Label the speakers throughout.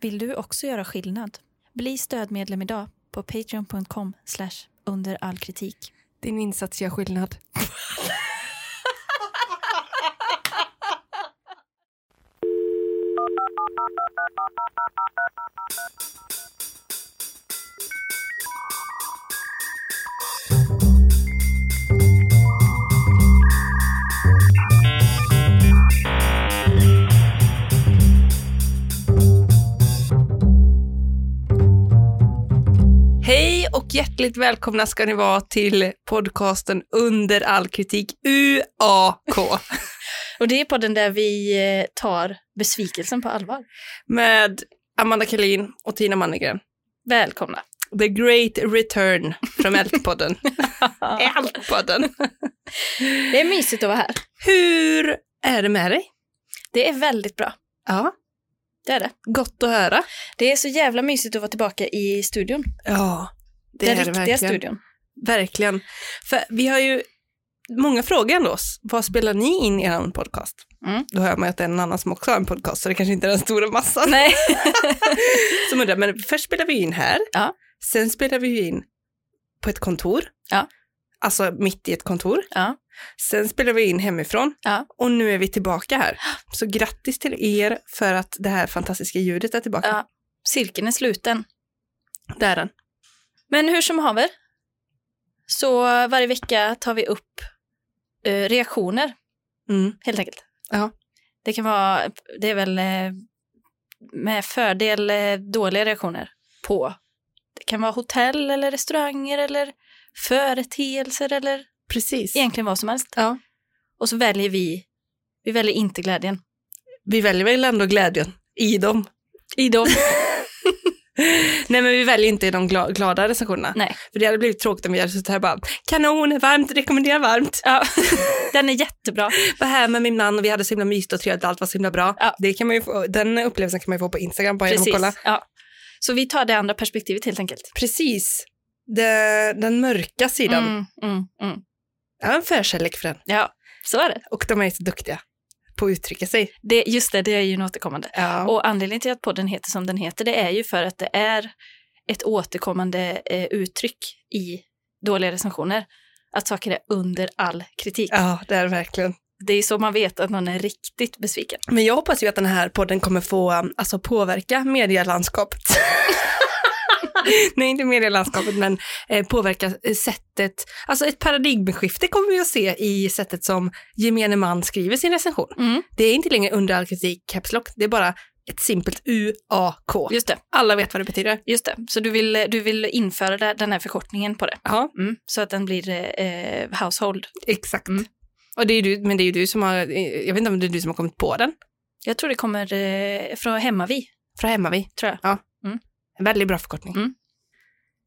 Speaker 1: Vill du också göra skillnad? Bli stödmedlem idag på patreon.com under all kritik.
Speaker 2: Din insats gör skillnad.
Speaker 3: Hej och hjärtligt välkomna ska ni vara till podcasten Under all kritik, UAK,
Speaker 1: Och det är på den där vi eh, tar besvikelsen på allvar.
Speaker 3: med Amanda Kalin och Tina Mannegren.
Speaker 1: Välkomna.
Speaker 3: The Great Return från Ältpodden. Ältpodden.
Speaker 1: Eh, Det är mysigt att vara här.
Speaker 3: Hur är det med dig?
Speaker 1: Det är väldigt bra.
Speaker 3: Ja,
Speaker 1: Det är det.
Speaker 3: gott att höra.
Speaker 1: Det är så jävla mysigt att vara tillbaka i studion.
Speaker 3: Ja, det
Speaker 1: Den
Speaker 3: är det
Speaker 1: riktiga
Speaker 3: verkligen.
Speaker 1: studion.
Speaker 3: Verkligen. För vi har ju många frågor ändå. Vad spelar ni in i er podcast?
Speaker 1: Mm.
Speaker 3: Då hör man ju att det är en annan som också har en podcast, så det kanske inte är den stora massan.
Speaker 1: Nej.
Speaker 3: som undrar, men först spelar vi in här,
Speaker 1: Ja.
Speaker 3: sen spelar vi in på ett kontor,
Speaker 1: Ja.
Speaker 3: alltså mitt i ett kontor,
Speaker 1: Ja.
Speaker 3: sen spelar vi in hemifrån
Speaker 1: Ja.
Speaker 3: och nu är vi tillbaka här. Så grattis till er för att det här fantastiska ljudet är tillbaka.
Speaker 1: Ja. Cirkeln är sluten.
Speaker 3: Det är den.
Speaker 1: Men hur som haver, så varje vecka tar vi upp eh, reaktioner
Speaker 3: Mm.
Speaker 1: helt enkelt.
Speaker 3: Ja.
Speaker 1: Det kan vara, det är väl eh, med fördel eh, dåliga reaktioner på. Det kan vara hotell eller restauranger eller företeelser eller
Speaker 3: Precis.
Speaker 1: egentligen vad som helst.
Speaker 3: Ja.
Speaker 1: Och så väljer vi, vi väljer inte glädjen.
Speaker 3: Vi väljer väl ändå glädjen i dem.
Speaker 1: I dem.
Speaker 3: Nej men vi väljer inte i de gla- glada recensionerna.
Speaker 1: Nej.
Speaker 3: För det hade blivit tråkigt om vi hade suttit här och bara kanon, varmt, rekommenderar varmt.
Speaker 1: Ja, den är jättebra.
Speaker 3: var här med min man och vi hade så himla mysigt och trevligt, allt var så himla bra.
Speaker 1: Ja.
Speaker 3: Det kan man ju få, den upplevelsen kan man ju få på Instagram bara genom att
Speaker 1: Precis.
Speaker 3: kolla.
Speaker 1: Ja. Så vi tar det andra perspektivet helt enkelt.
Speaker 3: Precis. Det, den mörka sidan.
Speaker 1: Mm, mm, mm.
Speaker 3: Jag har en förkärlek för den.
Speaker 1: Ja, så är det.
Speaker 3: Och de är så duktiga på att uttrycka sig.
Speaker 1: det. Just det, det är ju en återkommande.
Speaker 3: Ja.
Speaker 1: Och anledningen till att podden heter som den heter, det är ju för att det är ett återkommande eh, uttryck i dåliga recensioner. Att saker är under all kritik.
Speaker 3: ja, det är det verkligen.
Speaker 1: Det är ju så man vet att någon är riktigt besviken.
Speaker 3: Men jag hoppas ju att den här podden kommer få um, alltså, påverka medielandskapet. Nej, inte medielandskapet, men eh, påverka eh, sättet. Alltså ett paradigmskifte kommer vi att se i sättet som gemene man skriver sin recension.
Speaker 1: Mm.
Speaker 3: Det är inte längre under all kritik caps lock, det är bara ett simpelt UAK.
Speaker 1: Just det,
Speaker 3: Alla vet vad det betyder.
Speaker 1: just det. Så du vill, eh, du vill införa det- den här förkortningen på det.
Speaker 3: Ja,
Speaker 1: Mm. Så att den blir eh, household.
Speaker 3: exakt.
Speaker 1: Mm.
Speaker 3: Och det är ju du, men det är ju du som har, eh, jag vet inte om det är du som har kommit på den,
Speaker 1: Jag tror det kommer eh, från Hemmavi,
Speaker 3: från Hemmavi.
Speaker 1: tror jag.
Speaker 3: Mm. En väldigt bra förkortning.
Speaker 1: Mm.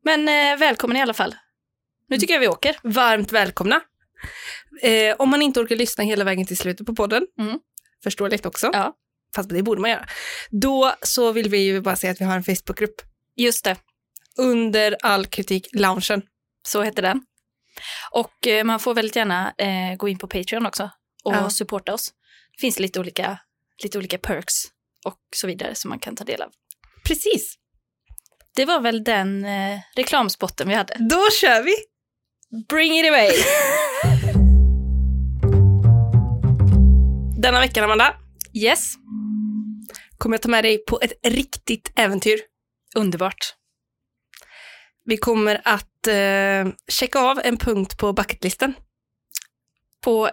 Speaker 1: Men eh, välkommen i alla fall.
Speaker 3: Mm.
Speaker 1: Nu tycker jag vi åker.
Speaker 3: Varmt välkomna. Eh, om man inte orkar lyssna hela vägen till slutet på podden,
Speaker 1: Mm.
Speaker 3: förståeligt också,
Speaker 1: Ja.
Speaker 3: fast det borde man göra, då så vill vi ju bara säga att vi har en Facebookgrupp
Speaker 1: Just det.
Speaker 3: under all kritik, loungen.
Speaker 1: Så heter den. Och eh, man får väldigt gärna eh, gå in på Patreon också och
Speaker 3: Ja.
Speaker 1: supporta oss. Det finns lite olika, lite olika perks och så vidare som man kan ta del av.
Speaker 3: Precis,
Speaker 1: Det var väl den eh, reklamspotten vi hade.
Speaker 3: då kör vi!
Speaker 1: Bring it away!
Speaker 3: Denna veckan, Amanda,
Speaker 1: Yes,
Speaker 3: kommer jag ta med dig på ett riktigt äventyr.
Speaker 1: underbart.
Speaker 3: Vi kommer att eh, checka av en punkt på bucketlisten.
Speaker 1: På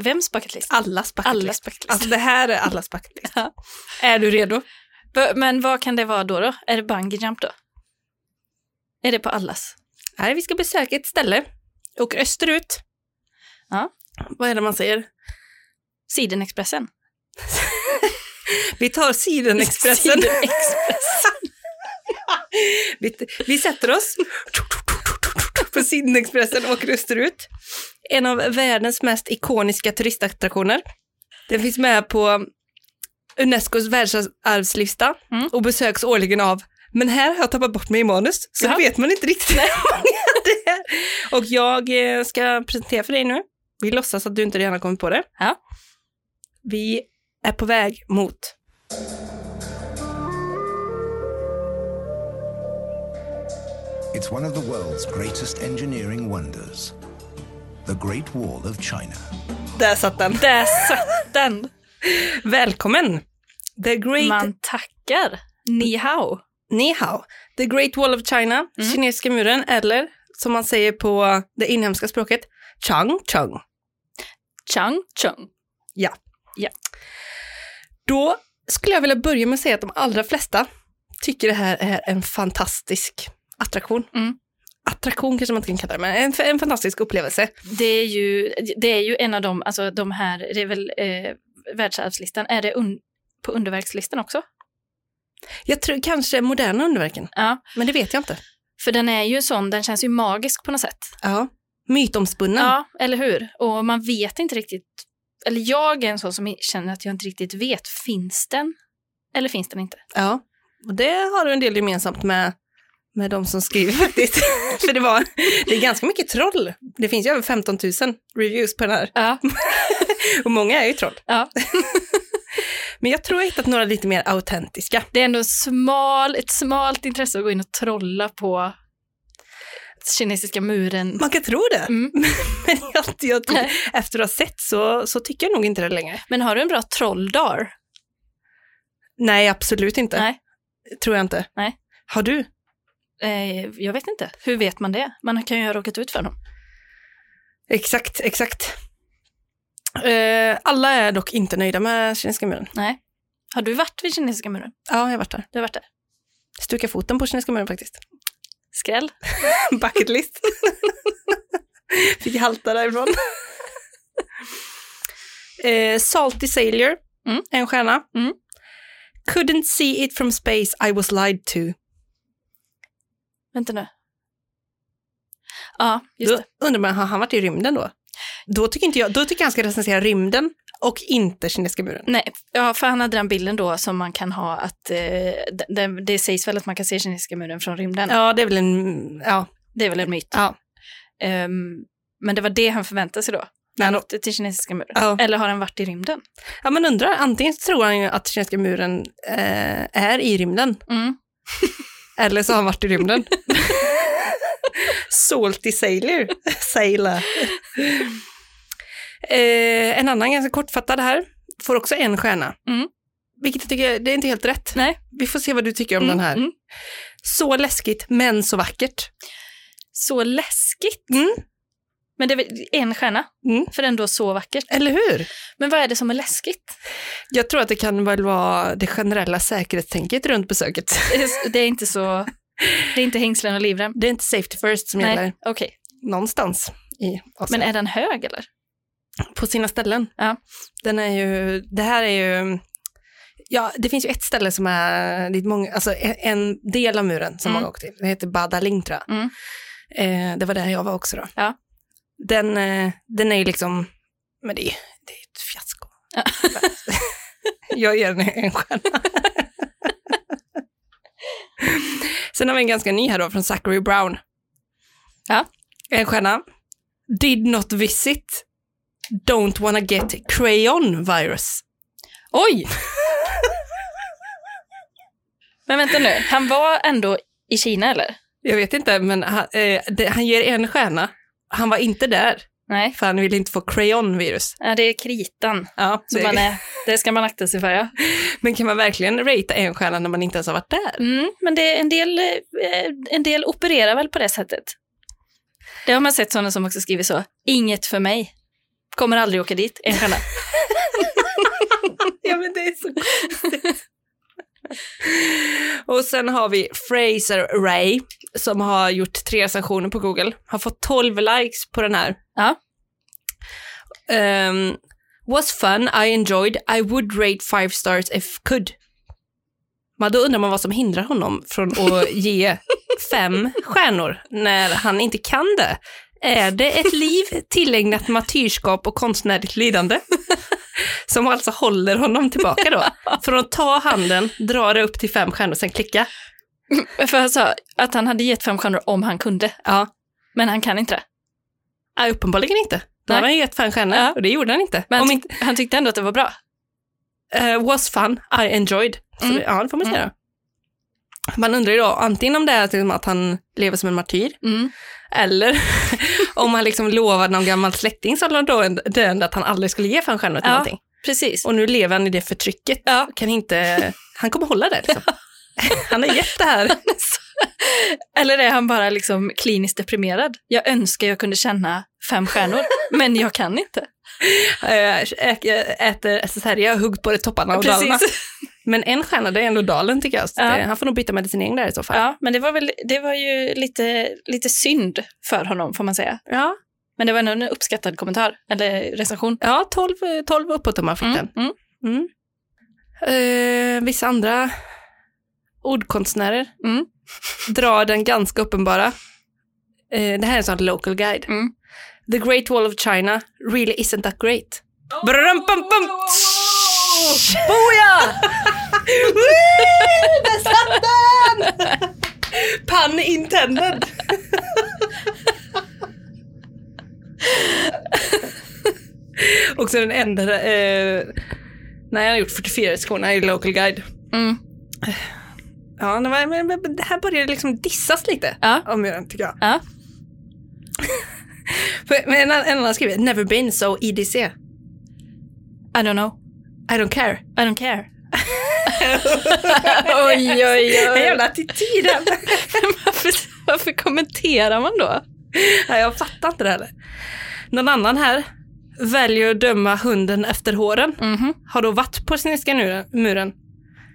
Speaker 1: vems bucket list?
Speaker 3: Allas bucketlist.
Speaker 1: Allas bucket list.
Speaker 3: Alltså det här är allas bucketlist.
Speaker 1: Ja.
Speaker 3: Är du redo?
Speaker 1: B- Men vad kan det vara då? då? Är det bungee jump då? Är det på allas?
Speaker 3: Nej, vi ska besöka ett ställe. Åker österut.
Speaker 1: Ja.
Speaker 3: Vad är det man säger?
Speaker 1: Sidenexpressen?
Speaker 3: Vi tar Sidenexpressen.
Speaker 1: Sidenexpressen.
Speaker 3: vi, vi sätter oss på Sidenexpressen och åker österut. En av världens mest ikoniska turistattraktioner. Den finns med på Unescos världsarvslista
Speaker 1: Mm.
Speaker 3: och besöks årligen av men här har jag tappat bort mig i manus, så
Speaker 1: Ja.
Speaker 3: vet man inte riktigt hur många det är. Och jag eh, ska presentera för dig nu. Vi låtsas att du inte redan har kommit på det.
Speaker 1: Ja.
Speaker 3: Vi är på väg mot
Speaker 4: It's one of the world's greatest engineering wonders the Great Wall of China.
Speaker 3: Där satt den.
Speaker 1: Där satt den!
Speaker 3: Välkommen! The Great
Speaker 1: Man tackar. Ni hao.
Speaker 3: Ni hao. The Great Wall of China,
Speaker 1: Mm.
Speaker 3: kinesiska muren, eller som man säger på det inhemska språket, Chang Chang.
Speaker 1: Chang chung.
Speaker 3: Ja.
Speaker 1: Ja.
Speaker 3: Då skulle jag vilja börja med att säga att de allra flesta tycker det här är en fantastisk attraktion.
Speaker 1: Mm.
Speaker 3: Attraktion kanske man inte kan kalla det, men en, en fantastisk upplevelse.
Speaker 1: Det är ju, det är ju en av de, alltså de här, det är väl eh, världsarvslistan, är det un, på underverkslistan också?
Speaker 3: Jag tror kanske moderna underverken,
Speaker 1: Ja,
Speaker 3: men det vet jag inte.
Speaker 1: för den är ju sån, den känns ju magisk på något sätt.
Speaker 3: Ja. Mytomspunnen.
Speaker 1: Ja, eller hur? Och man vet inte riktigt, eller jag är en sån som känner att jag inte riktigt vet, finns den? Eller finns den inte?
Speaker 3: Ja, och det har du en del gemensamt med, med de som skriver faktiskt. För det, var, det är ganska mycket troll. Det finns ju över 15 000 reviews på den här.
Speaker 1: Ja,
Speaker 3: Och många är ju troll.
Speaker 1: ja.
Speaker 3: Men jag tror jag hittat några lite mer autentiska.
Speaker 1: Det är ändå en smal, ett smalt intresse att gå in och trolla på kinesiska muren.
Speaker 3: Man kan tro det.
Speaker 1: Mm.
Speaker 3: Men jag, jag, tror- efter att ha sett så, så tycker jag nog inte det längre.
Speaker 1: Men har du en bra trolldag?
Speaker 3: Nej, absolut inte.
Speaker 1: Nej.
Speaker 3: Tror jag inte.
Speaker 1: Nej.
Speaker 3: Har du?
Speaker 1: Eh, jag vet inte. Hur vet man det? Man kan ju ha råkat ut för dem.
Speaker 3: Exakt, exakt. Eh, alla är dock inte nöjda med Kinesiska muren.
Speaker 1: Nej. Har du varit vid Kinesiska muren?
Speaker 3: Ja, jag har varit där.
Speaker 1: Du har varit där.
Speaker 3: Stuka foten på Kinesiska muren faktiskt.
Speaker 1: Skräll?
Speaker 3: bucket list. Fick halta därifrån. eh, salty Sailor,
Speaker 1: Mm.
Speaker 3: en stjärna.
Speaker 1: Mm.
Speaker 3: Couldn't see it from space, I was lied to.
Speaker 1: Vänta nu. Ja, just
Speaker 3: Då
Speaker 1: det.
Speaker 3: undrar man, har han varit i rymden då? Då tycker, inte jag, då tycker jag han ska recensera rymden och inte kinesiska muren.
Speaker 1: Nej, ja, för han hade den bilden då som man kan ha att eh, det, det, det sägs väl att man kan se Kinesiska muren från rymden.
Speaker 3: Ja, det är väl en... Ja,
Speaker 1: Det är väl en myt.
Speaker 3: Ja.
Speaker 1: Ehm, men det var det han förväntade sig då.
Speaker 3: Nej,
Speaker 1: Han
Speaker 3: då-
Speaker 1: åkte till Kinesiska muren.
Speaker 3: ja.
Speaker 1: Eller har han varit i rymden?
Speaker 3: ja man undrar. Antingen så tror han ju att kinesiska muren eh, är i rymden,
Speaker 1: Mm.
Speaker 3: eller så har han varit i rymden. Salty Sailor. Sailor. Eh, en annan ganska kortfattad här, får också en stjärna.
Speaker 1: Mm.
Speaker 3: Vilket jag tycker, det är inte helt rätt.
Speaker 1: Nej.
Speaker 3: Vi får se vad du tycker om
Speaker 1: Mm,
Speaker 3: den här.
Speaker 1: mm.
Speaker 3: Så läskigt, men så vackert.
Speaker 1: Så läskigt.
Speaker 3: Mm.
Speaker 1: Men det är väl en stjärna,
Speaker 3: Mm.
Speaker 1: för ändå så vackert.
Speaker 3: Eller hur?
Speaker 1: Men vad är det som är läskigt?
Speaker 3: Jag tror att det kan väl vara det generella säkerhetstänket runt besöket.
Speaker 1: Det är inte så... Det är inte hängslen och livrem.
Speaker 3: Det är inte safety first som
Speaker 1: Nej,
Speaker 3: gäller
Speaker 1: okej.
Speaker 3: någonstans i Asien.
Speaker 1: Men är den hög eller?
Speaker 3: på sina ställen.
Speaker 1: Ja.
Speaker 3: Den är ju, det här är ju, ja det finns ju ett ställe som är, dit många, alltså en, en del av muren som
Speaker 1: Mm.
Speaker 3: många åkt till. Det heter Badaling tror jag.
Speaker 1: Mm.
Speaker 3: Eh, det var där jag var också då.
Speaker 1: Ja.
Speaker 3: Den, eh, den är ju liksom, men det är ju det är ju ett fiasko.
Speaker 1: Ja.
Speaker 3: jag ger den en stjärna. Sen har vi en ganska ny här då från Zachary Brown.
Speaker 1: Ja.
Speaker 3: En stjärna. Did not visit don't wanna get crayon virus.
Speaker 1: Oj! Men vänta nu, han var ändå i Kina eller?
Speaker 3: Jag vet inte, men han, eh, det, han ger en stjärna. Han var inte där,
Speaker 1: Nej,
Speaker 3: för han ville inte få crayonvirus.
Speaker 1: ja, det är kritan.
Speaker 3: Ja,
Speaker 1: Så man är, det ska man akta sig för, ja.
Speaker 3: Men kan man verkligen ratea en stjärna när man inte ens har varit där?
Speaker 1: Mm, men det är en, del, eh, en del opererar väl på det sättet. Det har man sett sådana som också skriver så, inget för mig. Kommer aldrig åka dit, en stjärna.
Speaker 3: Ja, men det är så konstigt. Och sen har vi Fraser Ray som har gjort tre recensioner på Google. Har fått 12 likes på den här.
Speaker 1: Ja.
Speaker 3: Ehm, was fun, I enjoyed, I would rate five stars if could. Men då undrar man vad som hindrar honom från att ge fem stjärnor när han inte kan det. Är det ett liv tillägnat martyrskap och konstnärligt lidande? Som alltså håller honom tillbaka då. Från att ta handen, dra det upp till fem stjärnor och sen klicka.
Speaker 1: För han sa att han hade gett fem stjärnor om han kunde,
Speaker 3: Ja,
Speaker 1: men han kan inte det.
Speaker 3: ja uppenbarligen inte. Då har
Speaker 1: Nej.
Speaker 3: han gett fem stjärnor
Speaker 1: Ja.
Speaker 3: och det gjorde han inte.
Speaker 1: Men
Speaker 3: Om
Speaker 1: han,
Speaker 3: inte
Speaker 1: tyck- han tyckte ändå att det var bra.
Speaker 3: eh, was fun, I enjoyed. Så
Speaker 1: Mm.
Speaker 3: det, ja, det får man säga. Man undrar ju då antingen om det är liksom att han lever som en martyr
Speaker 1: Mm.
Speaker 3: eller om han liksom lovade någon gammal släkting som låg då döende att han aldrig skulle ge fanstjärnor till
Speaker 1: Ja.
Speaker 3: någonting.
Speaker 1: Precis.
Speaker 3: Och nu lever han i det förtrycket. Kan inte, han kommer hålla det liksom. Han har gett det här.
Speaker 1: Eller är han bara liksom kliniskt deprimerad? Jag önskar jag kunde känna fem stjärnor, men jag kan inte.
Speaker 3: Eh, ä- ä- Äter alltså SSRI, har hugg på det topparna och dalarna. Men en stjärna, det är ändå dalen tycker jag. Så
Speaker 1: Ja.
Speaker 3: det, han får nog byta medicinering där i så fall.
Speaker 1: Ja, men det var, väl, det var ju lite, lite synd för honom, får man säga.
Speaker 3: Ja,
Speaker 1: Men det var ändå en uppskattad kommentar, eller recension.
Speaker 3: ja 12, 12 uppåt tummar fick
Speaker 1: Mm, mm,
Speaker 3: den. Mm. Eh, vissa andra ordkonstnärer
Speaker 1: Mm.
Speaker 3: drar den ganska uppenbara. Eh, det här är en sån local guide.
Speaker 1: mm.
Speaker 3: The Great Wall of China really isn't that great. Brum, bum, bum. Boja! Woo! Där satt den! Pun intended. Också den enda... Eh, nej, han har gjort 44 i skorna i Local Guide.
Speaker 1: Mm.
Speaker 3: Ja, det, var, men, men, det här började liksom dissas lite.
Speaker 1: Ja.
Speaker 3: Om den, tycker jag.
Speaker 1: Ja.
Speaker 3: För- Men en, en annan skriver, never been so EDC.
Speaker 1: I don't know.
Speaker 3: I don't care.
Speaker 1: I don't care. oj, oj,
Speaker 3: En jävla attityd. här.
Speaker 1: varför, varför kommenterar man då?
Speaker 3: Nej, jag fattar inte det heller. Någon annan här väljer att döma hunden efter håren.
Speaker 1: Mhm.
Speaker 3: Har då varit på Kinesiska nu- muren.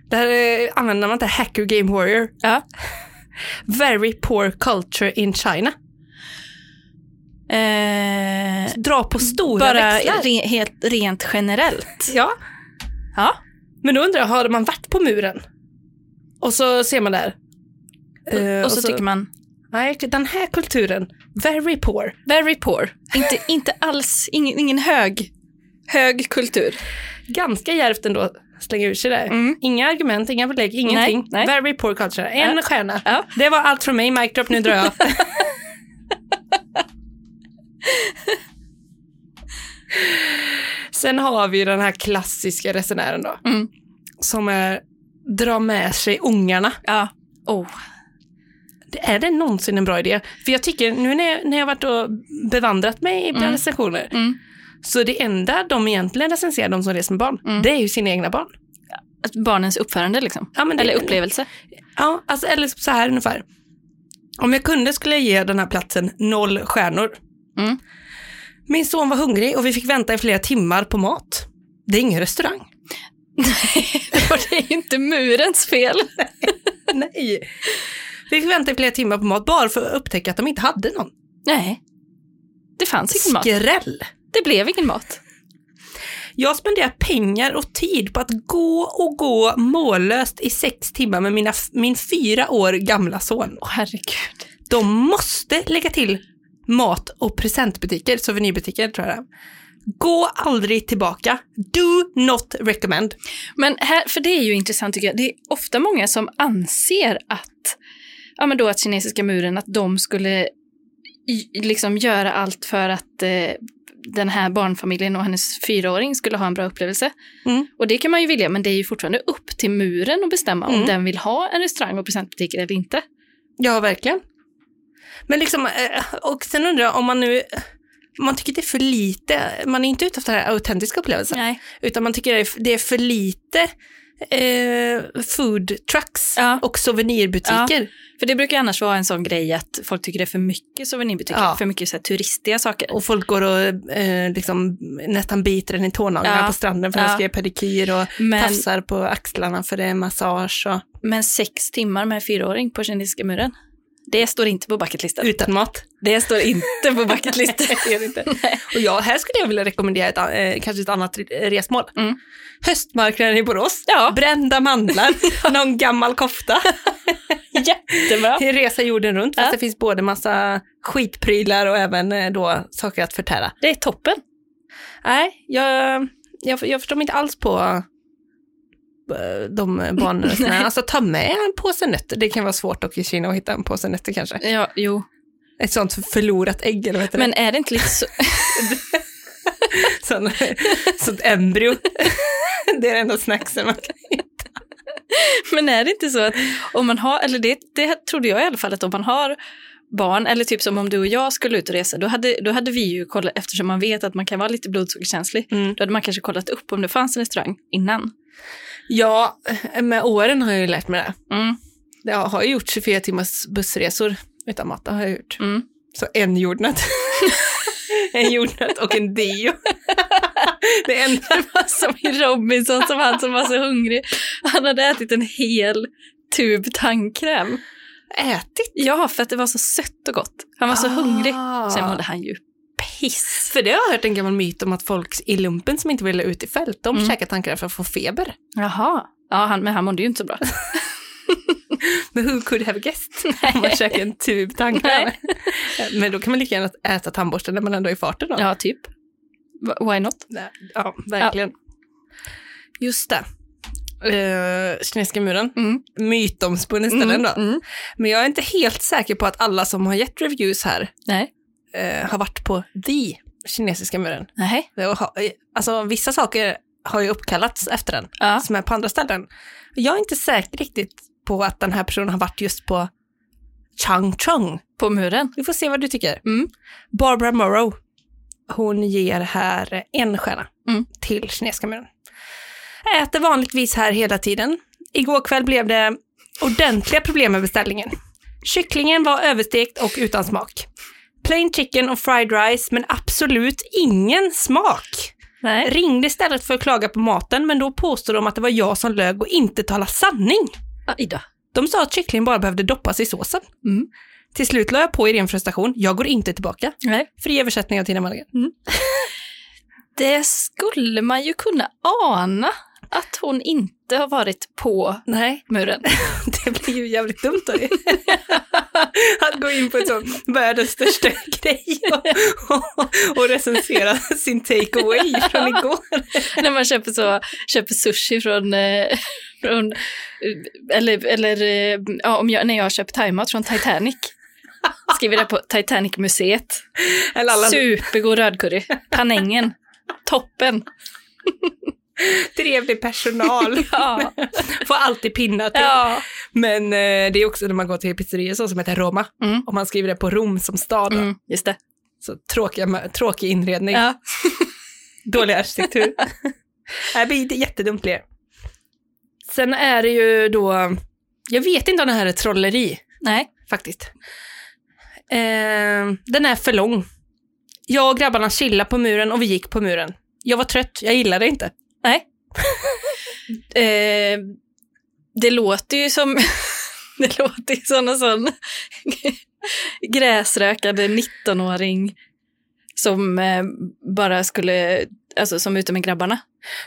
Speaker 3: Det här eh, använder man inte, hacker game warrior.
Speaker 1: Ja.
Speaker 3: Very poor culture in China.
Speaker 1: Eh,
Speaker 3: Dra på stora
Speaker 1: bara
Speaker 3: växlar.
Speaker 1: re, helt, rent generellt.
Speaker 3: Ja.
Speaker 1: Ja.
Speaker 3: Men då undrar jag, har man varit på muren? Och så ser man där. Eh,
Speaker 1: och, så, tycker man,
Speaker 3: Nej, den här kulturen, very poor.
Speaker 1: very poor. Inte, inte alls, ingen, ingen hög, hög kultur.
Speaker 3: Ganska djärvt ändå slänga ur sig det.
Speaker 1: Mm.
Speaker 3: Inga argument, inga belägg, ingenting.
Speaker 1: nej.
Speaker 3: Very poor culture. En
Speaker 1: Ja.
Speaker 3: stjärna.
Speaker 1: Ja.
Speaker 3: Det var allt från mig, mic drop, nu drar jag. Sen har vi ju den här klassiska resenären då.
Speaker 1: Mm.
Speaker 3: Som är, drar med sig ungarna.
Speaker 1: Ja. Oh.
Speaker 3: Det- Är det någonsin en bra idé? För jag tycker, nu när jag, när jag varit och bevandrat mig i mm.
Speaker 1: Mm.
Speaker 3: recensioner,
Speaker 1: Mm.
Speaker 3: så det enda de egentligen recenserar, de som reser med barn,
Speaker 1: Mm.
Speaker 3: det är ju sina egna barn.
Speaker 1: Att Barnens uppförande liksom.
Speaker 3: Ja, men det,
Speaker 1: Eller upplevelse.
Speaker 3: Ja, alltså, eller så här ungefär. Om jag kunde skulle jag ge den här platsen noll stjärnor.
Speaker 1: Mm.
Speaker 3: Min son var hungrig och vi fick vänta i flera timmar på mat. Det är ingen restaurang.
Speaker 1: Och det är ju inte murens fel.
Speaker 3: Nej. Vi fick vänta i flera timmar på mat bara för att upptäcka att de inte hade någon.
Speaker 1: Nej. Det fanns ingen mat.
Speaker 3: Skräll!
Speaker 1: Det blev ingen mat.
Speaker 3: Jag spenderar pengar och tid på att gå och gå mållöst i sex timmar med mina, min fyra år gamla son.
Speaker 1: Åh herregud.
Speaker 3: De måste lägga till mat och presentbutiker, souvenirbutiker tror jag det är. Gå aldrig tillbaka. Do not recommend.
Speaker 1: Men här, för det är ju intressant tycker jag. Det är ofta många som anser att, ja men då att kinesiska muren, att de skulle i- liksom göra allt för att eh, den här barnfamiljen och hennes fyraåring skulle ha en bra upplevelse.
Speaker 3: Mm.
Speaker 1: Och det kan man ju vilja, men det är ju fortfarande upp till muren att bestämma
Speaker 3: Mm.
Speaker 1: om den vill ha en restaurang och presentbutiker eller inte.
Speaker 3: Ja, verkligen. Men liksom, eh, och sen undrar jag om man nu, om man tycker det är för lite, man är inte ute efter den här autentiska upplevelsen,
Speaker 1: Nej.
Speaker 3: utan man tycker det är- det är för lite eh, food trucks
Speaker 1: Ja.
Speaker 3: och souvenirbutiker.
Speaker 1: För det brukar ju annars vara en sån grej att folk tycker det är för mycket souvenirbutiker,
Speaker 3: Ja.
Speaker 1: för mycket så här, turistiga saker.
Speaker 3: Och folk går och eh, liksom nästan biter en i tånaglarna
Speaker 1: Ja.
Speaker 3: på stranden för att
Speaker 1: Ja.
Speaker 3: de ska göra pedikyr och
Speaker 1: Men-
Speaker 3: tafsar på axlarna för det är massage och
Speaker 1: Men sex timmar med en fyraåring på kinesiska muren, det står inte på bucketlisten.
Speaker 3: utan mat.
Speaker 1: Det står inte på bucketlisten.
Speaker 3: det är det inte. Och jag, här skulle jag vilja rekommendera ett, an- eh, kanske ett annat re- resmål.
Speaker 1: Mm.
Speaker 3: Höstmarknaden i Borås,
Speaker 1: Ja.
Speaker 3: brända mandlar, någon gammal kofta,
Speaker 1: Jättebra.
Speaker 3: resa jorden runt. Fast
Speaker 1: Ja.
Speaker 3: det finns både massa skitprylar och även eh, då saker att förtära.
Speaker 1: Det är toppen.
Speaker 3: Nej, jag, jag, jag förstår mig inte alls på eh, de barnen. alltså ta med en påse nötter. Det kan vara svårt dock i Kina att hitta en påse nötter kanske.
Speaker 1: Ja, jo.
Speaker 3: Ett sånt förlorat ägg eller vad heter
Speaker 1: Men är det inte lite så...
Speaker 3: Sån, sånt embryo. Det är det enda snacksen man kan hitta.
Speaker 1: Men är det inte så att om man har, eller det, det trodde jag i alla fall, att om man har barn, eller typ som om du och jag skulle ut och resa, då hade, då hade vi ju kollat, eftersom man vet att man kan vara lite blodsockerkänslig,
Speaker 3: Mm.
Speaker 1: då hade man kanske kollat upp om det fanns en restaurang innan.
Speaker 3: Ja, med åren har jag ju lärt mig det.
Speaker 1: Mm,
Speaker 3: Jag har ju gjort 24 timmars bussresor utan matta har jag gjort.
Speaker 1: mm.
Speaker 3: Så en jordnöt. en jordnöt och en deo. det är en...
Speaker 1: Det var som i Robinson, som han som var så hungrig. Han hade ätit en hel tub tandkräm.
Speaker 3: Ätit?
Speaker 1: Ja, för att det var så sött och gott. Han var så hungrig.
Speaker 3: Ah.
Speaker 1: Sen mådde han ju piss.
Speaker 3: För det har jag hört en gammal myt om att folk i lumpen som inte ville ut i fält, de
Speaker 1: Mm.
Speaker 3: käkar tandkräm för att få feber.
Speaker 1: Jaha. Ja, han, men han mådde ju inte så bra.
Speaker 3: Men who could have guessed? Om man käkar en tub tandkräm. Men då kan man lika gärna äta tandborsten när man ändå är i farten då.
Speaker 1: Ja, typ. W- Why not?
Speaker 3: Nej, ja verkligen. Just det. Eh, kinesiska muren.
Speaker 1: Mm.
Speaker 3: Mytomspunna ställen då.
Speaker 1: Mm.
Speaker 3: Men jag är inte helt säker på att alla som har gett reviews här
Speaker 1: Nej.
Speaker 3: eh, har varit på the kinesiska muren.
Speaker 1: Nej.
Speaker 3: Det har- eh, Alltså vissa saker har ju uppkallats efter den,
Speaker 1: Ja.
Speaker 3: som är på andra ställen. Jag är inte säker riktigt på att den här personen har varit just på Changchung.
Speaker 1: På muren.
Speaker 3: Vi får se vad du tycker.
Speaker 1: Mm.
Speaker 3: Barbara Morrow, hon ger här en stjärna
Speaker 1: Mm.
Speaker 3: till kinesiska muren. Äter vanligtvis här hela tiden. Igår kväll blev det ordentliga problem med beställningen. Kycklingen var överstekt och utan smak. Plain chicken och fried rice, men absolut ingen smak.
Speaker 1: Nej.
Speaker 3: Ringde istället för att klaga på maten, men då påstod de att det var jag som lög och inte talade sanning.
Speaker 1: Aj då.
Speaker 3: De sa att kycklingen bara behövde doppas i såsen.
Speaker 1: Mm.
Speaker 3: Till slut la jag på i ren frustration. Jag går inte tillbaka.
Speaker 1: Nej.
Speaker 3: Fri översättning av Tina Malmgren.
Speaker 1: Det skulle man ju kunna ana att hon inte har varit på
Speaker 3: Nej,
Speaker 1: muren.
Speaker 3: det blir ju jävligt dumt av er. Att gå in på ett sånt världens största grej och, och, och recensera sin takeaway från igår.
Speaker 1: När man köper, så, köper sushi från... Eh, från eller eller eh, ja, om jag, när jag köper thaimat från Titanic. Skriver det på Titanic-museet.
Speaker 3: Eller alla
Speaker 1: Supergod rödcurry. Panängen. Toppen.
Speaker 3: trevlig personal
Speaker 1: Ja.
Speaker 3: får alltid pinna till.
Speaker 1: ja.
Speaker 3: Men eh, det är också när man går till pizzerior så som heter Roma.
Speaker 1: Mm.
Speaker 3: Om man skriver det på Rom som stad. då.
Speaker 1: Mm, just det.
Speaker 3: Så tråkiga, tråkig inredning.
Speaker 1: Ja.
Speaker 3: Dålig arkitektur. Nej, men det är jättedumt det. Sen är det ju då, jag vet inte om det här är trolleri
Speaker 1: Nej.
Speaker 3: faktiskt. Eh, den är för lång. Jag och grabbarna chillade på muren och vi gick på muren. Jag var trött, jag gillade det inte.
Speaker 1: Nej. eh, det låter ju som... det låter ju som en sån gräsrökande 19-åring som eh, bara skulle... Alltså som ute med grabbarna.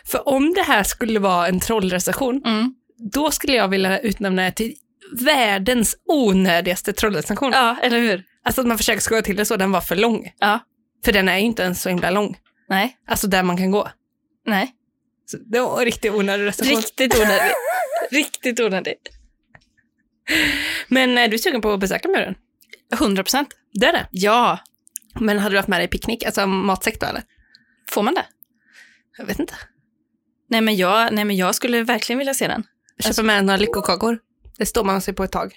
Speaker 3: För om det här skulle vara en trollrecension,
Speaker 1: Mm.
Speaker 3: då skulle jag vilja utnämna det till världens onödigaste trollrecension.
Speaker 1: Ja, eller hur?
Speaker 3: Alltså att man försöker skoja till det så, den var för lång.
Speaker 1: Ja.
Speaker 3: För den är ju inte ens så himla lång.
Speaker 1: Nej.
Speaker 3: Alltså där man kan gå.
Speaker 1: Nej.
Speaker 3: Så det var en riktigt onödig recension.
Speaker 1: Riktigt onödigt. Riktigt onödigt.
Speaker 3: Men är du sugen på att besöka muren?
Speaker 1: 100 procent.
Speaker 3: Det är det.
Speaker 1: Ja.
Speaker 3: Men hade du haft med dig picknick, alltså matsäck då eller?
Speaker 1: Får man det?
Speaker 3: Jag vet inte.
Speaker 1: Nej men, jag, nej, men jag skulle verkligen vilja se den. Alltså-
Speaker 3: Köpa med några lyckokakor. Det står man sig på ett tag.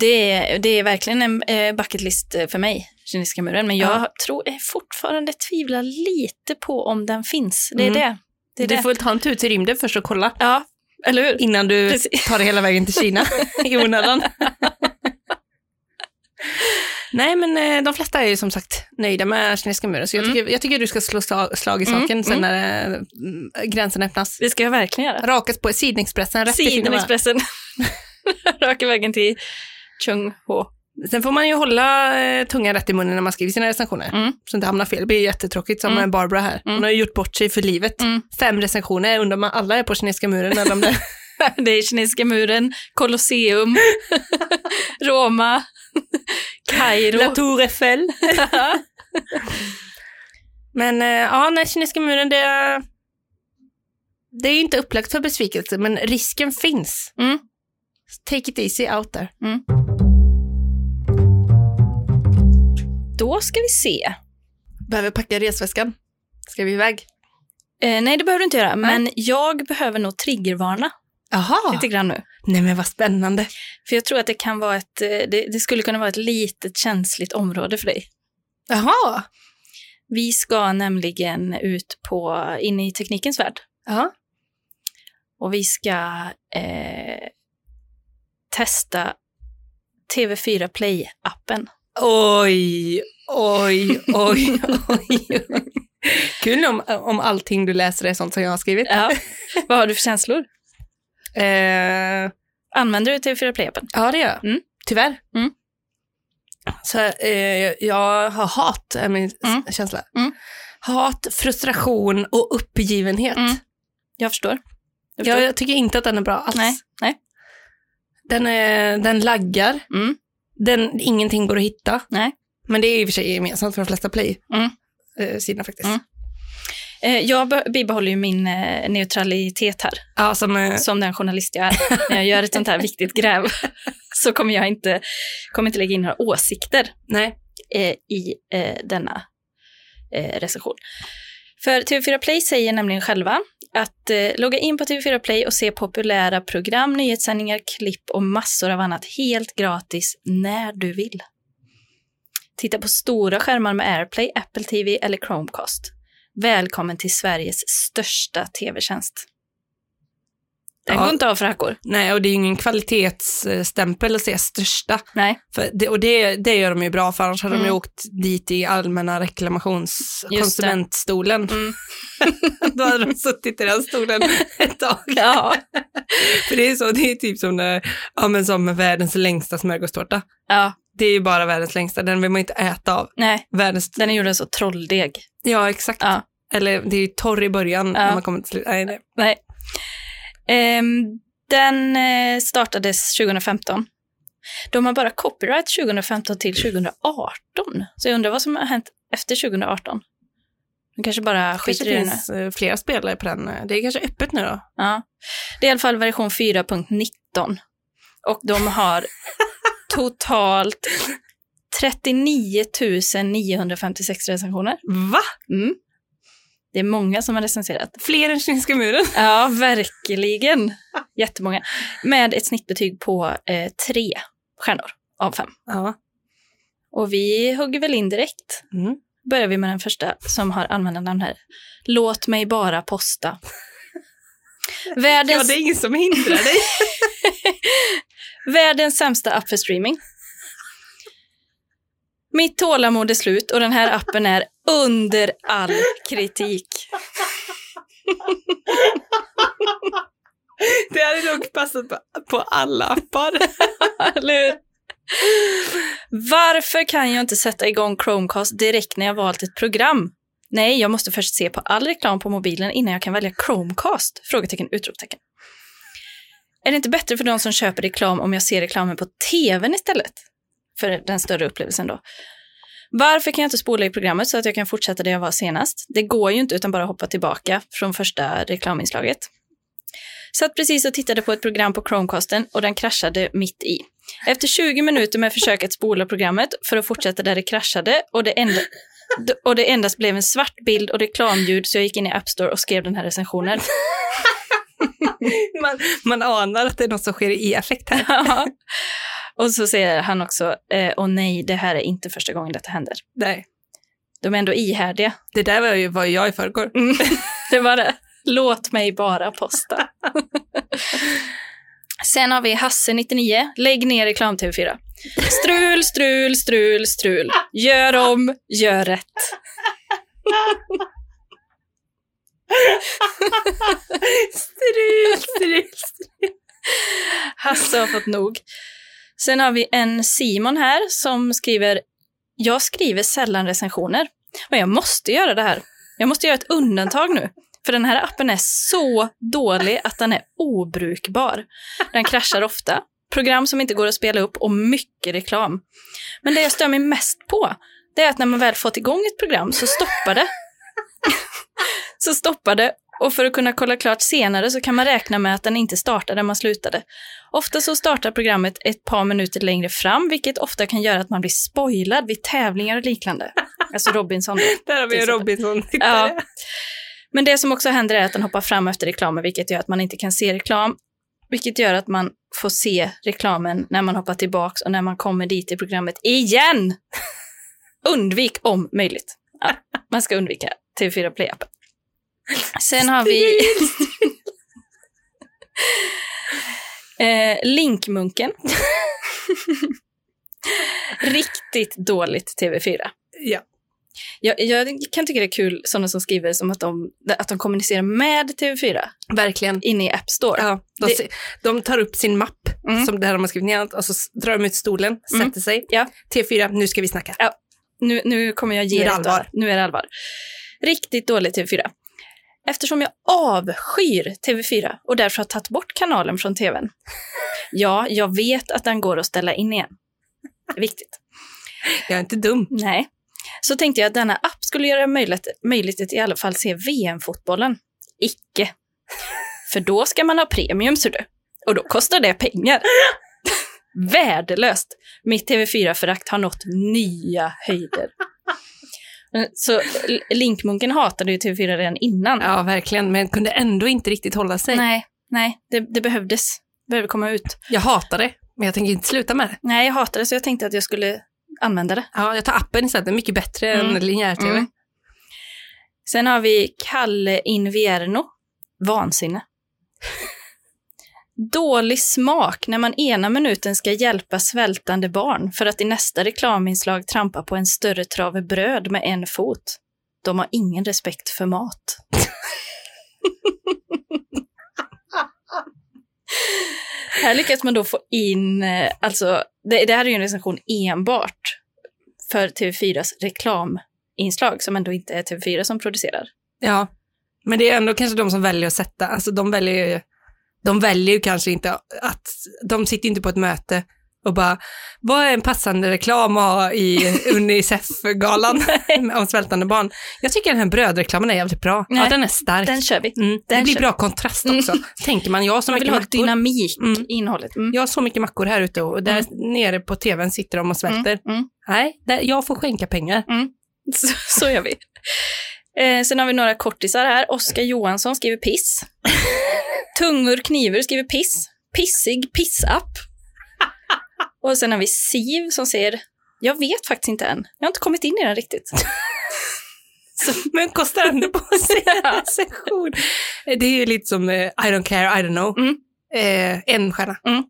Speaker 1: Det är, det är verkligen en eh, bucket list eh, för mig, Kinesiska muren. Men jag
Speaker 3: Ja.
Speaker 1: tror eh, fortfarande tvivlar lite på om den finns. Det är
Speaker 3: Mm.
Speaker 1: det. det, är
Speaker 3: du
Speaker 1: det.
Speaker 3: får väl ta en tur till rymden först och kolla.
Speaker 1: Ja, eller hur?
Speaker 3: Innan du
Speaker 1: Precis.
Speaker 3: tar dig hela vägen till Kina i onödan. Nej, men eh, de flesta är ju som sagt nöjda med kinesiska muren, så jag,
Speaker 1: Mm.
Speaker 3: tycker, jag tycker du ska slå slag, slag i
Speaker 1: Mm,
Speaker 3: saken sen
Speaker 1: mm.
Speaker 3: när eh, mm, gränsen öppnas.
Speaker 1: Det ska jag verkligen göra.
Speaker 3: Rakas på Sidnexpressen, rätt i fingrarna.
Speaker 1: Sidenexpressen. Raka vägen till Chung Ho.
Speaker 3: Sen får man ju hålla eh, tungan rätt i munnen när man skriver sina recensioner.
Speaker 1: Mm.
Speaker 3: Så inte hamnar fel. Det blir jättetråkigt som
Speaker 1: Mm.
Speaker 3: eh, Barbara här. Hon
Speaker 1: Mm.
Speaker 3: har ju gjort bort sig för livet.
Speaker 1: Mm.
Speaker 3: Fem recensioner, jag undrar om alla är på kinesiska muren eller om det
Speaker 1: Det är Kinesiska muren, Colosseum, Roma, Kairo.
Speaker 3: Tour Eiffel. Men eh, ja, nej, kinesiska muren det är... Det är ju inte upplagt för besvikelse, men risken finns.
Speaker 1: Mm.
Speaker 3: Take it easy out there.
Speaker 1: Då ska vi se.
Speaker 3: Behöver packa resväskan. Ska vi iväg?
Speaker 1: Eh, nej, det behöver du inte göra. Men jag behöver nog triggervarna.
Speaker 3: Jaha.
Speaker 1: lite grann nu.
Speaker 3: Nej men vad spännande.
Speaker 1: För jag tror att det kan vara ett, eh, det, det skulle kunna vara ett litet känsligt område för dig.
Speaker 3: Jaha.
Speaker 1: Vi ska nämligen ut på, in i teknikens värld
Speaker 3: Ja.
Speaker 1: och vi ska eh, testa TV4 Play-appen.
Speaker 3: Oj, oj, oj, oj. Kul om, om allting du läser är sånt som jag har skrivit.
Speaker 1: Ja. Vad har du för känslor?
Speaker 3: Eh,
Speaker 1: Använder du TV4 Play-appen?
Speaker 3: ja, det gör jag.
Speaker 1: Mm.
Speaker 3: Tyvärr.
Speaker 1: Mm.
Speaker 3: Så eh, jag har hat, är min s-
Speaker 1: Mm.
Speaker 3: känsla.
Speaker 1: Mm.
Speaker 3: Hat, frustration och uppgivenhet.
Speaker 1: Mm. Jag förstår. Jag
Speaker 3: Jag,
Speaker 1: förstår.
Speaker 3: jag tycker inte att den är bra alls.
Speaker 1: Nej, nej.
Speaker 3: Den, är, den laggar,
Speaker 1: Mm.
Speaker 3: den, ingenting går att hitta.
Speaker 1: Nej.
Speaker 3: Men det är i och för sig gemensamt för de flesta
Speaker 1: Mm.
Speaker 3: play-sidorna faktiskt.
Speaker 1: Mm. Eh, Jag be- bibehåller ju min eh, neutralitet här,
Speaker 3: Ja, som, eh,
Speaker 1: som den journalist jag är. När jag gör ett sånt här viktigt gräv så kommer jag inte, kommer inte lägga in några åsikter
Speaker 3: nej.
Speaker 1: eh, i eh, denna eh, recension. För TV4 Play säger nämligen själva att eh, logga in på TV4 Play och se populära program, nyhetssändningar, klipp och massor av annat helt gratis när du vill. Titta på stora skärmar med AirPlay, Apple TV eller Chromecast. Välkommen till Sveriges största tv-tjänst. Den
Speaker 3: Ja.
Speaker 1: går inte av för hackor.
Speaker 3: Nej, och det är ju ingen kvalitetsstämpel att säga största.
Speaker 1: Nej,
Speaker 3: För det, och det, det gör de ju bra, för annars hade de
Speaker 1: Mm.
Speaker 3: ju åkt dit i allmänna
Speaker 1: det.
Speaker 3: reklamationskonsumentstolen.
Speaker 1: Mm.
Speaker 3: Då hade de suttit i den stolen ett tag.
Speaker 1: ja.
Speaker 3: För det är så, det är typ som, när, ja, men som med världens längsta smörgåstårta.
Speaker 1: ja.
Speaker 3: Det är ju bara världens längsta, den vill man ju inte äta av.
Speaker 1: Nej,
Speaker 3: Världens,
Speaker 1: den är gjord av så trolldeg.
Speaker 3: ja exakt.
Speaker 1: Ja.
Speaker 3: Eller det är ju torr i början
Speaker 1: Ja.
Speaker 3: när man kommer till slut. Nej, nej.
Speaker 1: Nej. Ehm, den eh, startades 2015. De har bara copyright 2015 till 2018. Så jag undrar vad som har hänt efter 2018. De kanske bara
Speaker 3: Det kanske
Speaker 1: skiter i det nu.
Speaker 3: finns eh, flera spelare på den. eh, Det är kanske öppet nu då.
Speaker 1: Ja. Det är i alla fall version 4.19. Och de har totalt 39 956 recensioner.
Speaker 3: Va?
Speaker 1: Mm. Det är många som har recenserat.
Speaker 3: Fler än Kinesiska muren?
Speaker 1: Ja, verkligen. Jättemånga. Med ett snittbetyg på eh, tre stjärnor av fem.
Speaker 3: Ja.
Speaker 1: Och vi hugger väl in direkt.
Speaker 3: Mm.
Speaker 1: Börjar vi med den första som har användarnamn här. Låt mig bara posta.
Speaker 3: Ja,
Speaker 1: Världens,
Speaker 3: det är ingen som hindrar dig.
Speaker 1: världens sämsta app för streaming. Mitt tålamod är slut och den här appen är under all kritik.
Speaker 3: Det hade nog passat på, på alla appar.
Speaker 1: Eller hur? Varför kan jag inte sätta igång Chromecast direkt när jag valt ett program? Nej, jag måste först se på all reklam på mobilen innan jag kan välja Chromecast? Frågetecken, utropstecken. Är det inte bättre för de som köper reklam om jag ser reklamen på tvn istället? För den större upplevelsen då. Varför kan jag inte spola i programmet så att jag kan fortsätta där jag var senast? Det går ju inte utan bara hoppa tillbaka från första reklaminslaget. Satt precis och tittade på ett program på Chromecasten och den kraschade mitt i. Efter 20 minuter med försök att spola programmet för att fortsätta där det kraschade och det, enda, och det endast blev en svart bild och reklamljud så jag gick in i App Store och skrev den här recensionen.
Speaker 3: Man, man anar att det är något som sker i affekt här.
Speaker 1: Ja. och så säger han också, eh, åh nej, det här är inte första gången detta händer.
Speaker 3: Nej.
Speaker 1: De är ändå ihärdiga.
Speaker 3: Det där var ju var jag i förrgår.
Speaker 1: Det var det. Låt mig bara posta. Sen har vi Hasse99. Lägg ner reklam TV4. Strul, strul, strul, strul. Gör om, gör rätt.
Speaker 3: Strul, strul.
Speaker 1: Hasse har fått nog. Sen har vi en Simon här som skriver, jag skriver sällan recensioner, men jag måste göra det här. Jag måste göra ett undantag nu, för den här appen är så dålig att den är obrukbar. Den kraschar ofta, program som inte går att spela upp och mycket reklam. Men det jag stör mig mest på, det är att när man väl fått igång ett program så stoppar det. så stoppar det, och för att kunna kolla klart senare så kan man räkna med att den inte startar där man slutade. Ofta så startar programmet ett par minuter längre fram, vilket ofta kan göra att man blir spoilad vid tävlingar och liknande. Alltså Robinson då.
Speaker 3: Där har vi ju Robinson.
Speaker 1: Ja. Men det som också händer är att den hoppar fram efter reklamen, vilket gör att man inte kan se reklam. Vilket gör att man får se reklamen när man hoppar tillbaks och när man kommer dit i programmet igen. Undvik om möjligt. Ja, man ska undvika TV4 Play-appen. Sen har vi... eh, Linkmunken. Riktigt dåligt TV4.
Speaker 3: Ja.
Speaker 1: Jag, jag kan tycka det är kul sådana som skriver som att de, att de kommunicerar med TV4
Speaker 3: Verkligen.
Speaker 1: inne i App Store.
Speaker 3: Ja, de,
Speaker 1: Det-
Speaker 3: se- de tar upp sin mapp,
Speaker 1: Mm.
Speaker 3: som det här de har skrivit ner, och så s- drar de ut stolen,
Speaker 1: Mm.
Speaker 3: sätter sig.
Speaker 1: Ja.
Speaker 3: T4, nu ska vi snacka.
Speaker 1: Nu, nu kommer jag ge
Speaker 3: Nu är det
Speaker 1: ett
Speaker 3: allvar.
Speaker 1: annat. Nu är det allvar. Riktigt dåligt TV4. Eftersom jag avskyr TV4 och därför har tagit bort kanalen från TVn. Ja, jag vet att den går att ställa in igen. Viktigt.
Speaker 3: Jag är inte dum.
Speaker 1: Nej. Så tänkte jag att denna app skulle göra det möjligt, möjligt att i alla fall se VM-fotbollen. Icke. För då ska man ha premium, ser du. Och då kostar det pengar. Värdelöst. Mitt TV4-förakt har nått nya höjder. Så L- Linkmunken hatade ju TV4 redan innan.
Speaker 3: Ja, verkligen, men kunde ändå inte riktigt hålla sig.
Speaker 1: Nej, nej, det, det behövdes. Behöver komma ut.
Speaker 3: Jag hatar det, men jag tänker inte sluta med det.
Speaker 1: Nej, jag hatade det så jag tänkte att jag skulle använda det.
Speaker 3: Ja, jag tar appen istället, den är mycket bättre
Speaker 1: Mm.
Speaker 3: än linjär-tv.
Speaker 1: Mm. Sen har vi Kalle Invierno. Vansinne. Dålig smak när man ena minuten ska hjälpa svältande barn för att i nästa reklaminslag trampa på en större trave bröd med en fot. De har ingen respekt för mat. här lyckas man då få in, eh, alltså, det, det här är ju en recension enbart för TV4s reklaminslag som ändå inte är TV4 som producerar.
Speaker 3: Ja, men det är ändå kanske de som väljer att sätta, alltså de väljer ju, de väljer ju kanske inte att, de sitter ju inte på ett möte och bara, vad är en passande reklam att ha i Unicef-galan om svältande barn? Jag tycker den här brödreklamen är jävligt bra.
Speaker 1: Nej,
Speaker 3: ja, den är stark.
Speaker 1: Den kör vi.
Speaker 3: mm, det
Speaker 1: den
Speaker 3: blir
Speaker 1: kör-
Speaker 3: bra kontrast också, tänker man. Jag har så
Speaker 1: Man vill
Speaker 3: mycket
Speaker 1: ha
Speaker 3: mackor.
Speaker 1: dynamik
Speaker 3: Mm.
Speaker 1: i innehållet. Mm.
Speaker 3: Jag har så mycket mackor här ute och där nere på tvn sitter de och svälter.
Speaker 1: Mm. Mm.
Speaker 3: Nej, där, jag får skänka pengar.
Speaker 1: Så, så gör vi. Eh, sen har vi några kortisar här. Oskar Johansson skriver piss. Tungor kniver skriver piss. Pissig pissapp. Och sen har vi Siv som säger, jag vet faktiskt inte än. Jag har inte kommit in i den riktigt.
Speaker 3: Men kostar ändå på sig en recension. Det är ju lite som eh, I don't care, I don't know.
Speaker 1: Mm.
Speaker 3: Eh, en stjärna.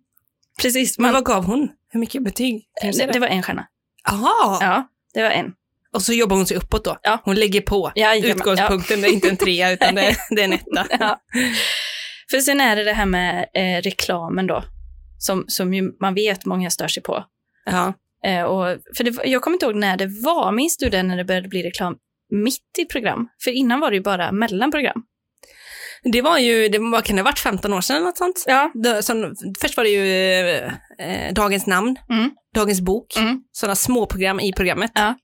Speaker 1: Precis,
Speaker 3: Men
Speaker 1: man,
Speaker 3: vad gav hon? Hur mycket betyg? Kan du
Speaker 1: det,
Speaker 3: säga
Speaker 1: det
Speaker 3: det?
Speaker 1: var en stjärna.
Speaker 3: Aha.
Speaker 1: Ja, det var en.
Speaker 3: Och så jobbar hon sig uppåt då.
Speaker 1: Ja.
Speaker 3: Hon lägger på.
Speaker 1: Jajamän,
Speaker 3: Utgångspunkten är inte en trea utan det är, det är en etta.
Speaker 1: Ja. För sen är det det här med eh, reklamen då, som, som ju man vet många stör sig på.
Speaker 3: Ja.
Speaker 1: Eh, och, för det, var- jag kommer inte ihåg när det var. Minns du det när det började bli reklam mitt i program? För innan var det ju bara mellan program.
Speaker 3: Det var ju, det, vad kan det ha varit, 15 år sedan eller något sånt?
Speaker 1: Ja.
Speaker 3: Då- Som, först var det ju eh, eh, Dagens namn,
Speaker 1: Mm.
Speaker 3: Dagens bok,
Speaker 1: Mm.
Speaker 3: sådana småprogram i programmet.
Speaker 1: Ja.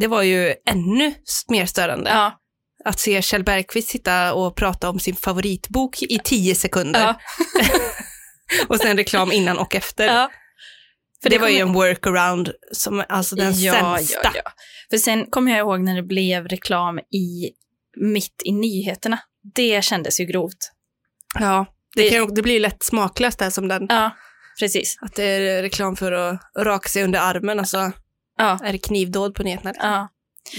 Speaker 3: Det var ju ännu s- mer störande.
Speaker 1: Ja.
Speaker 3: att se Kjell Bergqvist sitta och prata om sin favoritbok i tio sekunder.
Speaker 1: Ja.
Speaker 3: och sen reklam innan och efter.
Speaker 1: ja.
Speaker 3: För det, var ju
Speaker 1: kommer-
Speaker 3: en workaround som alltså den
Speaker 1: ja,
Speaker 3: sämsta.
Speaker 1: ja, ja. För sen kommer jag ihåg när det blev reklam i, mitt i nyheterna. Det kändes ju grovt.
Speaker 3: Ja, det, kan, ju- det blir ju lätt smaklöst där som den.
Speaker 1: Ja, precis.
Speaker 3: Att det är reklam för att raka sig under armen och så
Speaker 1: Ja.
Speaker 3: är det knivdåd på nyheterna.
Speaker 1: Ja.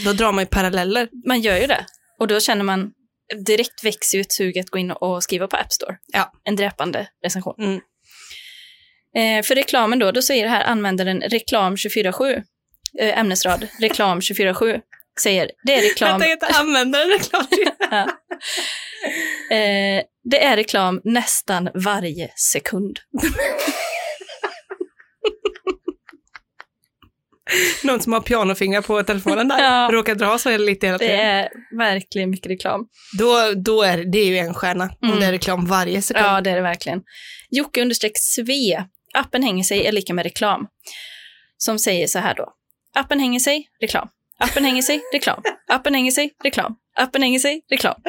Speaker 3: Då drar man ju paralleller.
Speaker 1: Man gör ju det. Och då känner man, direkt växer ju ett sug att gå in och skriva på App Store.
Speaker 3: Ja.
Speaker 1: En dräpande recension.
Speaker 3: Mm.
Speaker 1: Eh, för reklamen då, då säger här användaren reklam 24-7, eh, ämnesrad reklam 24-7, säger det är reklam,
Speaker 3: Vänta, heter användaren reklam?
Speaker 1: eh, det är reklam nästan varje sekund.
Speaker 3: Någon som har pianofingrar på telefonen där.
Speaker 1: Ja.
Speaker 3: Råkar dra så är det lite hela
Speaker 1: Det
Speaker 3: tiden.
Speaker 1: är verkligen mycket reklam.
Speaker 3: Då, då är det- det är ju en stjärna.
Speaker 1: Mm.
Speaker 3: Om det är reklam varje sekund.
Speaker 1: Ja, det är det verkligen. Jocke understreck Sve. Appen hänger sig är lika med reklam. Som säger så här då. Appen hänger sig, reklam. Appen hänger sig, reklam. Appen hänger sig, reklam. Appen hänger sig, reklam.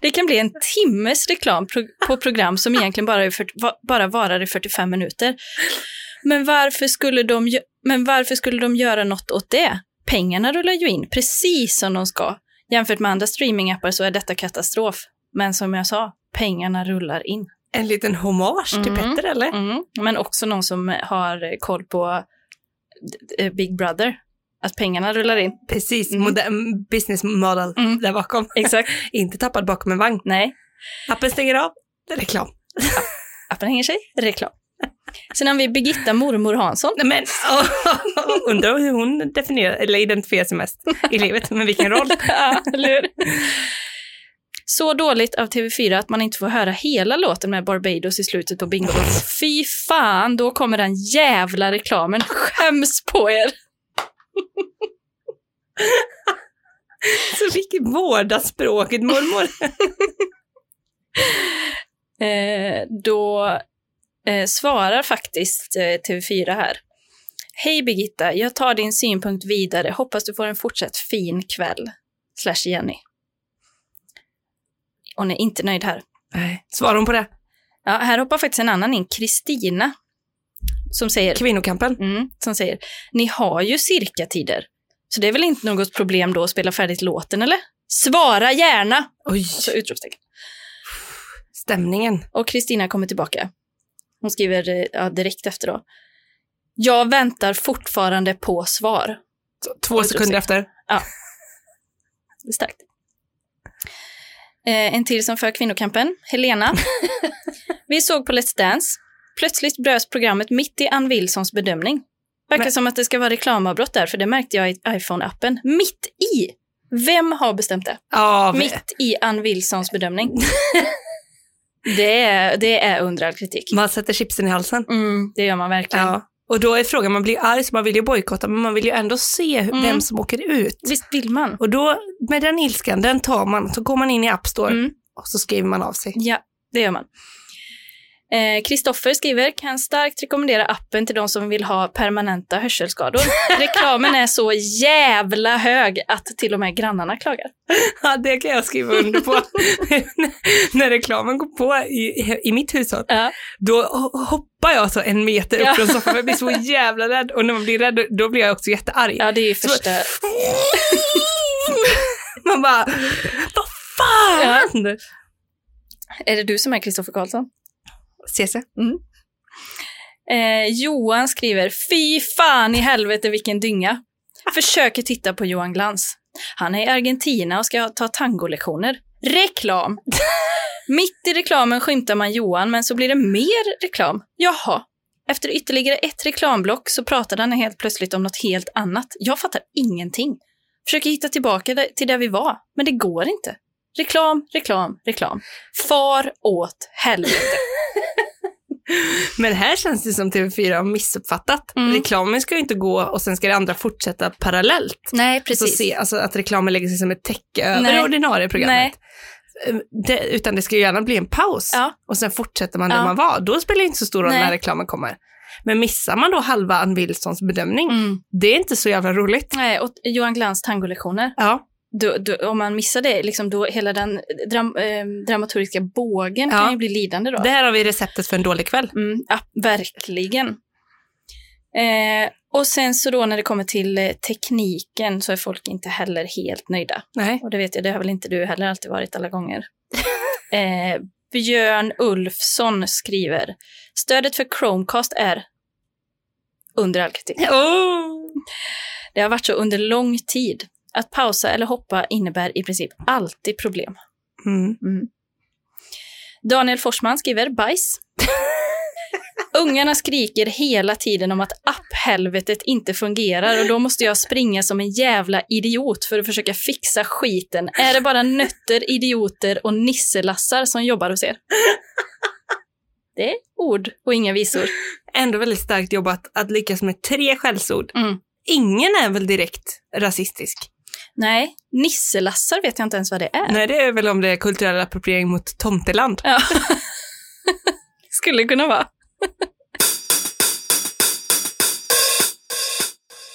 Speaker 1: Det kan bli en timmes reklam pro- på program som egentligen bara, är fyrt- va- bara varar i 45 minuter. Men varför, skulle de, gö- men varför skulle de göra något åt det? Pengarna rullar ju in precis som de ska. Jämfört med andra streamingappar så är detta katastrof. Men som jag sa, pengarna rullar in.
Speaker 3: En liten hommage till
Speaker 1: Mm.
Speaker 3: Petter eller?
Speaker 1: Mm. Men också någon som har koll på eh, Big Brother. Att pengarna rullar in.
Speaker 3: Precis,
Speaker 1: Mm.
Speaker 3: modern business model
Speaker 1: Mm.
Speaker 3: där bakom.
Speaker 1: Exakt.
Speaker 3: Inte tappad bakom en vagn.
Speaker 1: Nej,
Speaker 3: Appen stänger av, det är reklam.
Speaker 1: appen hänger sig. Reklam. Sen har vi Birgitta mormor Hansson.
Speaker 3: Nej, Men undrar hur hon definierar, eller identifierar sig mest i livet, men vilken roll.
Speaker 1: Ja, eller hur? Så dåligt av TV4 att man inte får höra hela låten med Barbados i slutet på Bingo. Fy fan, då kommer den jävla reklamen. Skäms på er!
Speaker 3: Så fick vårda språket mormor.
Speaker 1: Eh, då eh, svarar faktiskt eh, TV4 här. Hej Birgitta, jag tar din synpunkt vidare. Hoppas du får en fortsatt fin kväll. Slash Jenny. Hon är inte nöjd här.
Speaker 3: Svarar hon på det?
Speaker 1: Ja, här hoppar faktiskt en annan in, Kristina, som säger,
Speaker 3: Kvinnokampen?
Speaker 1: mm, som säger, ni har ju cirkatider, så det är väl inte något problem då att spela färdigt låten, eller? Svara gärna!
Speaker 3: Oj,
Speaker 1: Så utropstecken.
Speaker 3: stämningen.
Speaker 1: Och Kristina kommer tillbaka. Hon skriver eh, ja, direkt efter då. Jag väntar fortfarande på svar.
Speaker 3: Två sekunder efter.
Speaker 1: Det är Starkt. Eh, en till som för kvinnokampen, Helena. Vi såg på Let's Dance. Plötsligt bröts programmet mitt i Ann Wilsons bedömning. Verkar
Speaker 3: Men-
Speaker 1: som att det ska vara reklamavbrott där, för det märkte jag i iPhone-appen. Mitt i! Vem har bestämt det?
Speaker 3: Ja, vi-
Speaker 1: Mitt i Ann Wilsons bedömning. det, är, det är under all kritik.
Speaker 3: man sätter chipsen i halsen.
Speaker 1: Mm, det gör man verkligen.
Speaker 3: Ja. Och då är frågan, man blir arg så man vill ju bojkotta, men man vill ju ändå se hur-
Speaker 1: Mm.
Speaker 3: vem som åker ut.
Speaker 1: Visst vill man?
Speaker 3: Och då, med den ilskan, den tar man, så går man in i App Store
Speaker 1: Mm.
Speaker 3: och så skriver man av sig.
Speaker 1: Ja, det gör man. Eh, Kristoffer skriver, kan starkt rekommendera appen till de som vill ha permanenta hörselskador. Reklamen är så jävla hög att till och med grannarna klagar.
Speaker 3: Ja, det kan jag skriva under på. När reklamen går på i, i mitt hushåll,
Speaker 1: Ja.
Speaker 3: då ho- hoppar jag så en meter upp
Speaker 1: Ja.
Speaker 3: från soffan, för jag blir så jävla rädd. Och när man blir rädd, då blir jag också jättearg.
Speaker 1: Ja, det är ju första...
Speaker 3: Man bara, vad fan! Ja.
Speaker 1: Är det du som är Kristoffer Karlsson?
Speaker 3: CC.
Speaker 1: Eh, Johan skriver, fy fan i helvete vilken dynga. Försöker titta på Johan Glans. Han är i Argentina och ska ta tangolektioner. Reklam! Mitt i reklamen skymtar man Johan, men så blir det mer reklam. Jaha. Efter ytterligare ett reklamblock så pratade han helt plötsligt om något helt annat. Jag fattar ingenting. Försöker hitta tillbaka där- till där vi var, men det går inte. Reklam, reklam, reklam. Far åt helvete.
Speaker 3: Men här känns det som TV4 har missuppfattat.
Speaker 1: Mm.
Speaker 3: Reklamen ska ju inte gå och sen ska det andra fortsätta parallellt.
Speaker 1: Nej,
Speaker 3: Så se, alltså att reklamen lägger sig som ett täcke över
Speaker 1: Nej.
Speaker 3: det ordinarie
Speaker 1: Nej.
Speaker 3: programmet. Ehm, Det, utan det ska ju gärna bli en paus
Speaker 1: Ja.
Speaker 3: och sen fortsätter man där
Speaker 1: Ja.
Speaker 3: man var. Då spelar det inte så stor roll
Speaker 1: Nej.
Speaker 3: när reklamen kommer. Men missar man då halva Ann Wilsons bedömning,
Speaker 1: Mm.
Speaker 3: det är inte så jävla roligt.
Speaker 1: Nej, och Johan Glans tangolektioner.
Speaker 3: Ja,
Speaker 1: Då, då, om man missar det, liksom då hela den dram, eh, dramaturgiska bågen
Speaker 3: Ja.
Speaker 1: kan ju bli lidande då.
Speaker 3: det här har vi receptet för en dålig kväll.
Speaker 1: Mm, ja, verkligen. Eh, och sen så då när det kommer till eh, tekniken så är folk inte heller helt nöjda.
Speaker 3: Nej.
Speaker 1: Och det vet jag, det har väl inte du heller alltid varit alla gånger. Eh, Björn Ulfsson skriver, stödet för Chromecast är under all kritik.
Speaker 3: Oh.
Speaker 1: Det har varit så under lång tid. Att pausa eller hoppa innebär i princip alltid problem.
Speaker 3: Mm.
Speaker 1: Daniel Forsman skriver bajs. Ungarna skriker hela tiden om att apphelvetet inte fungerar och då måste jag springa som en jävla idiot för att försöka fixa skiten. Är det bara nötter, idioter och nisselassar som jobbar hos er? Det är ord och inga visor.
Speaker 3: Ändå väldigt starkt jobbat att lyckas med tre skällsord.
Speaker 1: Mm.
Speaker 3: Ingen är väl direkt rasistisk?
Speaker 1: Nej, nisselassar vet jag inte ens vad det är.
Speaker 3: Nej, det är väl om det är kulturell appropriering mot tomteland.
Speaker 1: Ja. Skulle kunna vara.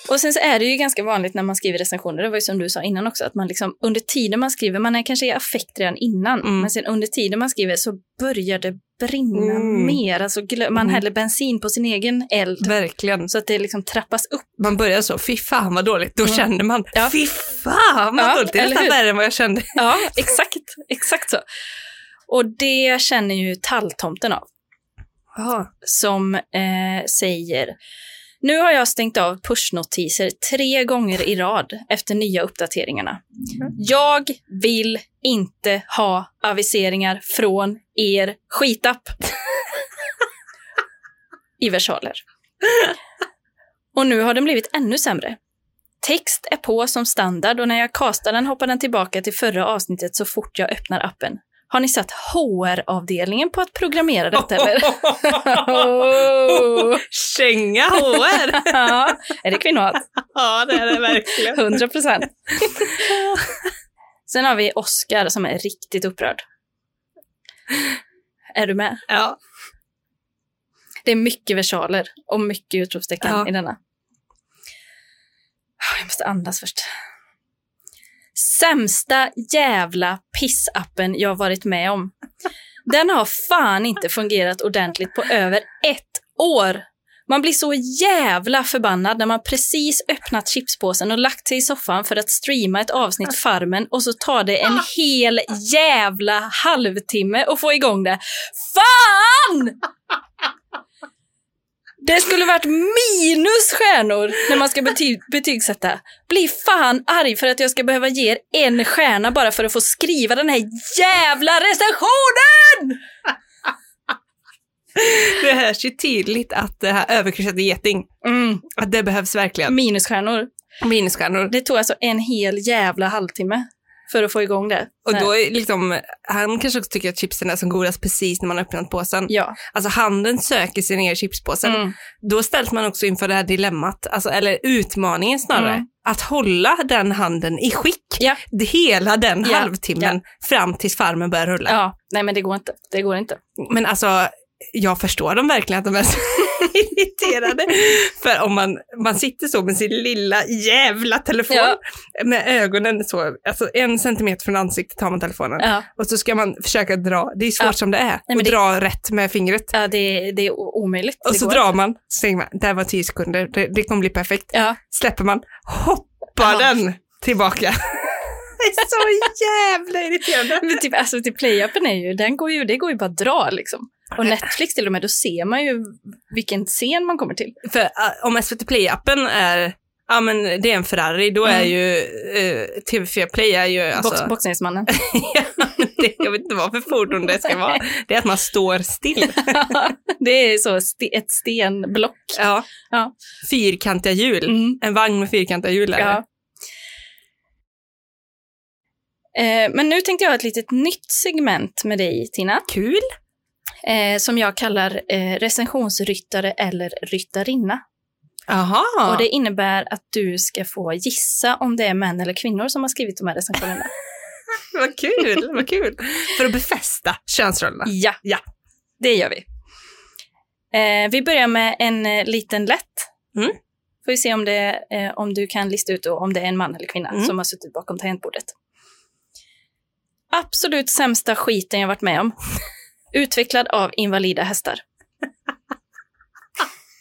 Speaker 1: Och sen så är det ju ganska vanligt när man skriver recensioner, det var ju som du sa innan också, att man liksom under tiden man skriver, man är kanske i affekt redan innan,
Speaker 3: Mm.
Speaker 1: men sen under tiden man skriver så börjar det brinna
Speaker 3: Mm.
Speaker 1: mer, alltså glö- man
Speaker 3: Mm.
Speaker 1: häller bensin på sin egen eld.
Speaker 3: Verkligen.
Speaker 1: Så att det liksom trappas upp.
Speaker 3: man började så, fy fan vad dåligt, då
Speaker 1: Mm.
Speaker 3: kände man,
Speaker 1: Ja.
Speaker 3: fy fan vad
Speaker 1: Ja,
Speaker 3: dåligt, det är
Speaker 1: eller
Speaker 3: nästan
Speaker 1: hur?
Speaker 3: värre än vad jag kände.
Speaker 1: Ja, exakt, exakt så. Och det känner ju talltomten av,
Speaker 3: Jaha.
Speaker 1: som eh, säger nu har jag stängt av pushnotiser tre gånger i rad efter nya uppdateringarna. Jag vill inte ha aviseringar från er skitapp. I versaler. Och nu har den blivit ännu sämre. Text är på som standard och när jag kastar den hoppar den tillbaka till förra avsnittet så fort jag öppnar appen. Har ni satt HR-avdelningen på att programmera detta eller? Oh.
Speaker 3: Känga HR!
Speaker 1: Ja, är det kvinnohat?
Speaker 3: ja, det är det verkligen.
Speaker 1: 100 procent. Sen har vi Oskar som är riktigt upprörd. Är du med?
Speaker 3: Ja.
Speaker 1: Det är mycket versaler och mycket utropstecken
Speaker 3: Ja.
Speaker 1: i denna. Ah, Jag måste andas först. Sämsta jävla pissappen jag varit med om. Den har fan inte fungerat ordentligt på över ett år. Man blir så jävla förbannad när man precis öppnat chipspåsen och lagt sig i soffan för att streama ett avsnitt Farmen och så tar det en hel jävla halvtimme att få igång det. Fan! Det skulle varit minus stjärnor när man ska bety- betygsätta. Bli fan arg för att jag ska behöva ge er en stjärna bara för att få skriva den här jävla recensionen!
Speaker 3: Det hörs ju tydligt att det här överkryssade geting,
Speaker 1: Mm,
Speaker 3: att det behövs verkligen.
Speaker 1: minusstjärnor.
Speaker 3: Minusstjärnor.
Speaker 1: Det tog alltså en hel jävla halvtimme för att få igång det.
Speaker 3: Och då är liksom, han kanske också tycker att chipsen är som godast precis när man har öppnat påsen.
Speaker 1: Ja.
Speaker 3: Alltså handen söker sig ner i chipspåsen.
Speaker 1: Mm.
Speaker 3: Då ställs man också inför det här dilemmat, alltså, eller utmaningen snarare.
Speaker 1: Mm.
Speaker 3: Att hålla den handen i skick
Speaker 1: Ja.
Speaker 3: Det- hela den
Speaker 1: Ja,
Speaker 3: halvtimmen fram tills farmen börjar rulla.
Speaker 1: ja. Nej, men det går inte. Det går inte.
Speaker 3: Men alltså, jag förstår dem verkligen att de är så irriterade. För om man, man sitter så med sin lilla jävla telefon,
Speaker 1: Ja.
Speaker 3: med ögonen så, alltså en centimeter från ansiktet har man telefonen.
Speaker 1: Ja.
Speaker 3: Och så ska man försöka dra, det är svårt
Speaker 1: Ja.
Speaker 3: som det är,
Speaker 1: men
Speaker 3: och
Speaker 1: det-
Speaker 3: dra rätt med fingret.
Speaker 1: Ja, det, det är o- omöjligt.
Speaker 3: Och
Speaker 1: det
Speaker 3: så
Speaker 1: går
Speaker 3: drar man, så tänker man, det här var tio sekunder, det, det kommer bli perfekt.
Speaker 1: inte. Ja.
Speaker 3: Släpper man, hoppar
Speaker 1: Ja.
Speaker 3: den tillbaka. det är så jävla irriterande.
Speaker 1: Men typ, alltså typ play-upen är ju, den går ju, det går ju bara att dra liksom. Och Netflix till och med, då ser man ju vilken scen man kommer till.
Speaker 3: För eh, om SVT Play-appen är, ja men det är en Ferrari, då är
Speaker 1: Mm.
Speaker 3: ju eh, TV4 Play är ju alltså,
Speaker 1: Box, boxningsmannen.
Speaker 3: det, jag vet inte vad för fordon det ska vara, det är att man står still.
Speaker 1: det är så ste, ett stenblock.
Speaker 3: Ja.
Speaker 1: Ja.
Speaker 3: Fyrkantiga hjul,
Speaker 1: Mm.
Speaker 3: en vagn med fyrkantiga hjul är det.
Speaker 1: Ja. Eh, Men nu tänkte jag ha ett litet nytt segment med dig, Tina,
Speaker 3: Kul!
Speaker 1: eh, som jag kallar eh, recensionsryttare eller ryttarinna.
Speaker 3: Jaha!
Speaker 1: Och det innebär att du ska få gissa om det är män eller kvinnor som har skrivit de här recensionerna.
Speaker 3: Vad kul, vad kul! För att befästa könsrollerna.
Speaker 1: Ja,
Speaker 3: Ja.
Speaker 1: det gör vi. Eh, vi börjar med en eh, liten lätt.
Speaker 3: Mm.
Speaker 1: Får vi se om, det, eh, om du kan lista ut då, om det är en man eller kvinna
Speaker 3: Mm.
Speaker 1: som har suttit bakom tangentbordet. Absolut sämsta skiten jag varit med om. Utvecklad av invalida hästar.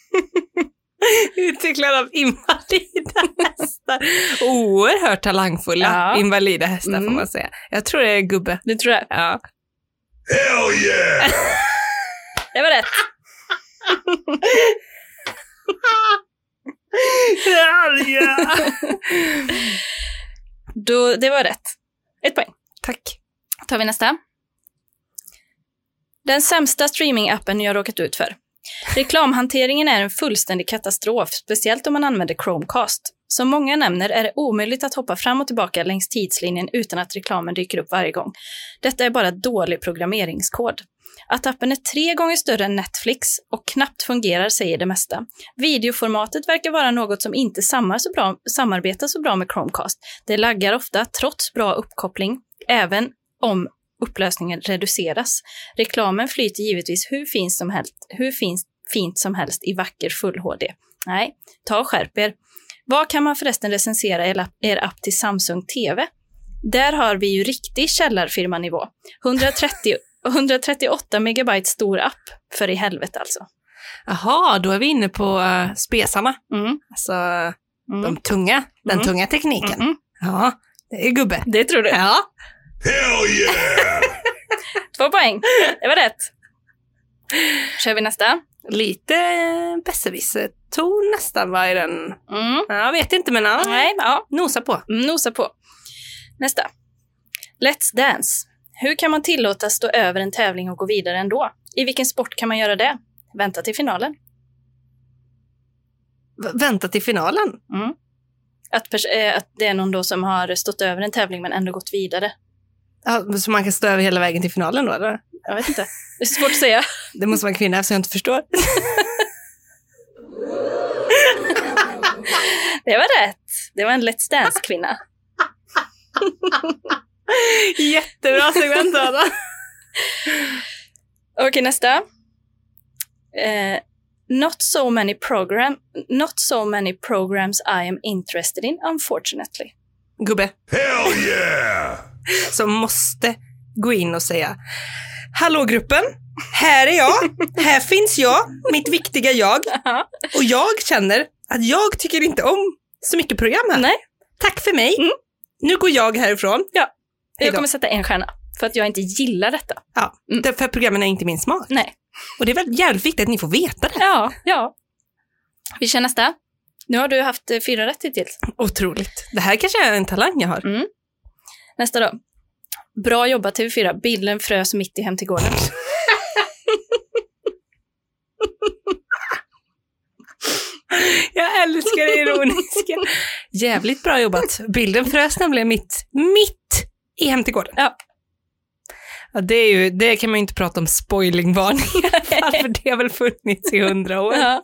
Speaker 3: Utvecklad av invalida hästar. Oerhört talangfulla
Speaker 1: Ja.
Speaker 3: invalida hästar får
Speaker 1: Mm.
Speaker 3: man säga. Jag tror det är gubbe.
Speaker 1: Det tror jag.
Speaker 3: Ja.
Speaker 4: Hell yeah!
Speaker 1: Det var rätt. Då, det var rätt. Ett poäng.
Speaker 3: Tack.
Speaker 1: tar vi nästa. Den sämsta streamingappen jag råkat ut för. Reklamhanteringen är en fullständig katastrof, speciellt om man använder Chromecast. Som många nämner är det omöjligt att hoppa fram och tillbaka längs tidslinjen utan att reklamen dyker upp varje gång. Detta är bara dålig programmeringskod. Att appen är tre gånger större än Netflix och knappt fungerar säger det mesta. Videoformatet verkar vara något som inte samar så bra, samarbetar så bra med Chromecast. Det laggar ofta, trots bra uppkoppling, även om upplösningen reduceras. Reklamen flyter givetvis hur fint som helst, hur fint, fint som helst i vacker full HD. Nej, ta och skärp er. Vad kan man förresten recensera er app, er app till Samsung TV? Där har vi ju riktig källarfirmanivå. 130, 138 megabyte stor app. För i helvete alltså.
Speaker 3: Jaha, då är vi inne på uh, spesamma.
Speaker 1: Mm,
Speaker 3: Alltså
Speaker 1: mm,
Speaker 3: de tunga, den
Speaker 1: Mm.
Speaker 3: tunga tekniken.
Speaker 1: mm, mm.
Speaker 3: Ja, det är gubbe.
Speaker 1: Det tror du?
Speaker 3: Ja.
Speaker 4: Hell yeah!
Speaker 1: Två poäng. Det var rätt. Kör vi nästa?
Speaker 3: Lite eh, besserwisser-ton nästan var i den.
Speaker 1: Mm.
Speaker 3: Ja, Jag vet inte men ja,
Speaker 1: Nej, ja.
Speaker 3: nosa på.
Speaker 1: Mm, Nosa på. Nästa. Let's Dance. Hur kan man tillåtas stå över en tävling och gå vidare ändå? I vilken sport kan man göra det? Vänta till finalen.
Speaker 3: V- vänta till finalen.
Speaker 1: Att, pers- eh, att det är någon då som har stått över en tävling men ändå gått vidare.
Speaker 3: Ja, så man kan stå över hela vägen till finalen då? Eller?
Speaker 1: Jag vet inte. Det är svårt att säga.
Speaker 3: Det måste vara en kvinna eftersom jag inte förstår.
Speaker 1: Det var rätt. Det var en Let's Dance-kvinna.
Speaker 3: Jättebra segment Anna.
Speaker 1: Okej, nästa. Eh, not, so many program, not so many programs I am interested in, unfortunately.
Speaker 3: Gubbe
Speaker 4: Hell yeah!
Speaker 3: som måste gå in och säga Hallå gruppen, här är jag, här finns jag, mitt viktiga jag. Och jag känner att jag tycker inte om så mycket program här.
Speaker 1: Nej. Mm.
Speaker 3: Tack för mig. Nu går jag härifrån.
Speaker 1: Ja.
Speaker 3: Hej
Speaker 1: Jag
Speaker 3: då.
Speaker 1: kommer sätta en stjärna, för att jag inte gillar detta.
Speaker 3: Ja,
Speaker 1: Mm.
Speaker 3: därför att programmen är inte min smak.
Speaker 1: Nej.
Speaker 3: Och det är väl jävligt viktigt att ni får veta det.
Speaker 1: Ja, ja. Vi kör nästa. Nu har du haft eh, fyra rätt hittills.
Speaker 3: Otroligt. Det här kanske är en talang jag har.
Speaker 1: Nästa då. Bra jobbat TV4. Bilden frös mitt i hem till gården.
Speaker 3: Jag älskar det ironiska. Jävligt bra jobbat. Bilden frös nämligen mitt, mitt i Hem till gården.
Speaker 1: Ja.
Speaker 3: Ja, det, är ju, det kan man ju inte prata om spoilingvarningar för, för det har väl funnits i hundra år.
Speaker 1: Ja.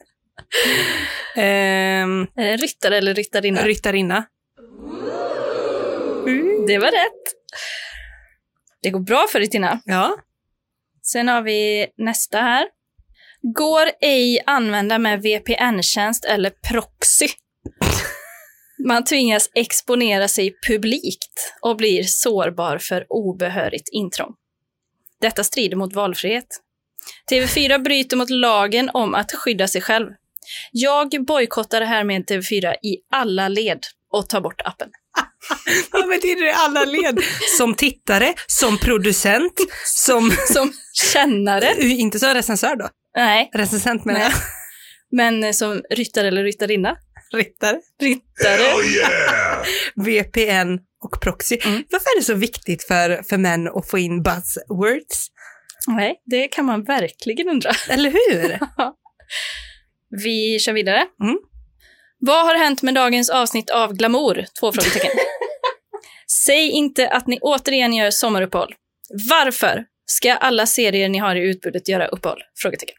Speaker 3: Ehm,
Speaker 1: Eh, Ryttare eller ryttarinna.
Speaker 3: Ryttarinna.
Speaker 1: Det var rätt. Det går bra för dig, Tina.
Speaker 3: Ja.
Speaker 1: Sen har vi nästa här. Går ej använda med VPN-tjänst eller proxy. Man tvingas exponera sig publikt och blir sårbar för obehörigt intrång. Detta strider mot valfrihet. TV4 bryter mot lagen om att skydda sig själv. Jag bojkottar härmed TV4 i alla led och tar bort appen.
Speaker 3: Vad betyder det i alla led? Som tittare, som producent, som...
Speaker 1: Som kännare?
Speaker 3: Inte som recensör då.
Speaker 1: Nej,
Speaker 3: Recensent menar jag.
Speaker 1: men som ryttare eller ryttarinna.
Speaker 3: Ryttare.
Speaker 1: Ryttare.
Speaker 4: yeah!
Speaker 3: VPN och proxy.
Speaker 1: Mm.
Speaker 3: Varför är det så viktigt för, för män att få in buzzwords?
Speaker 1: Nej, det kan man verkligen undra.
Speaker 3: Eller hur?
Speaker 1: Vi kör vidare.
Speaker 3: Mm.
Speaker 1: Vad har hänt med dagens avsnitt av Glamour? Två frågetecken. Säg inte att ni återigen gör sommaruppehåll. Varför ska alla serier ni har i utbudet göra uppehåll? Frågetecken.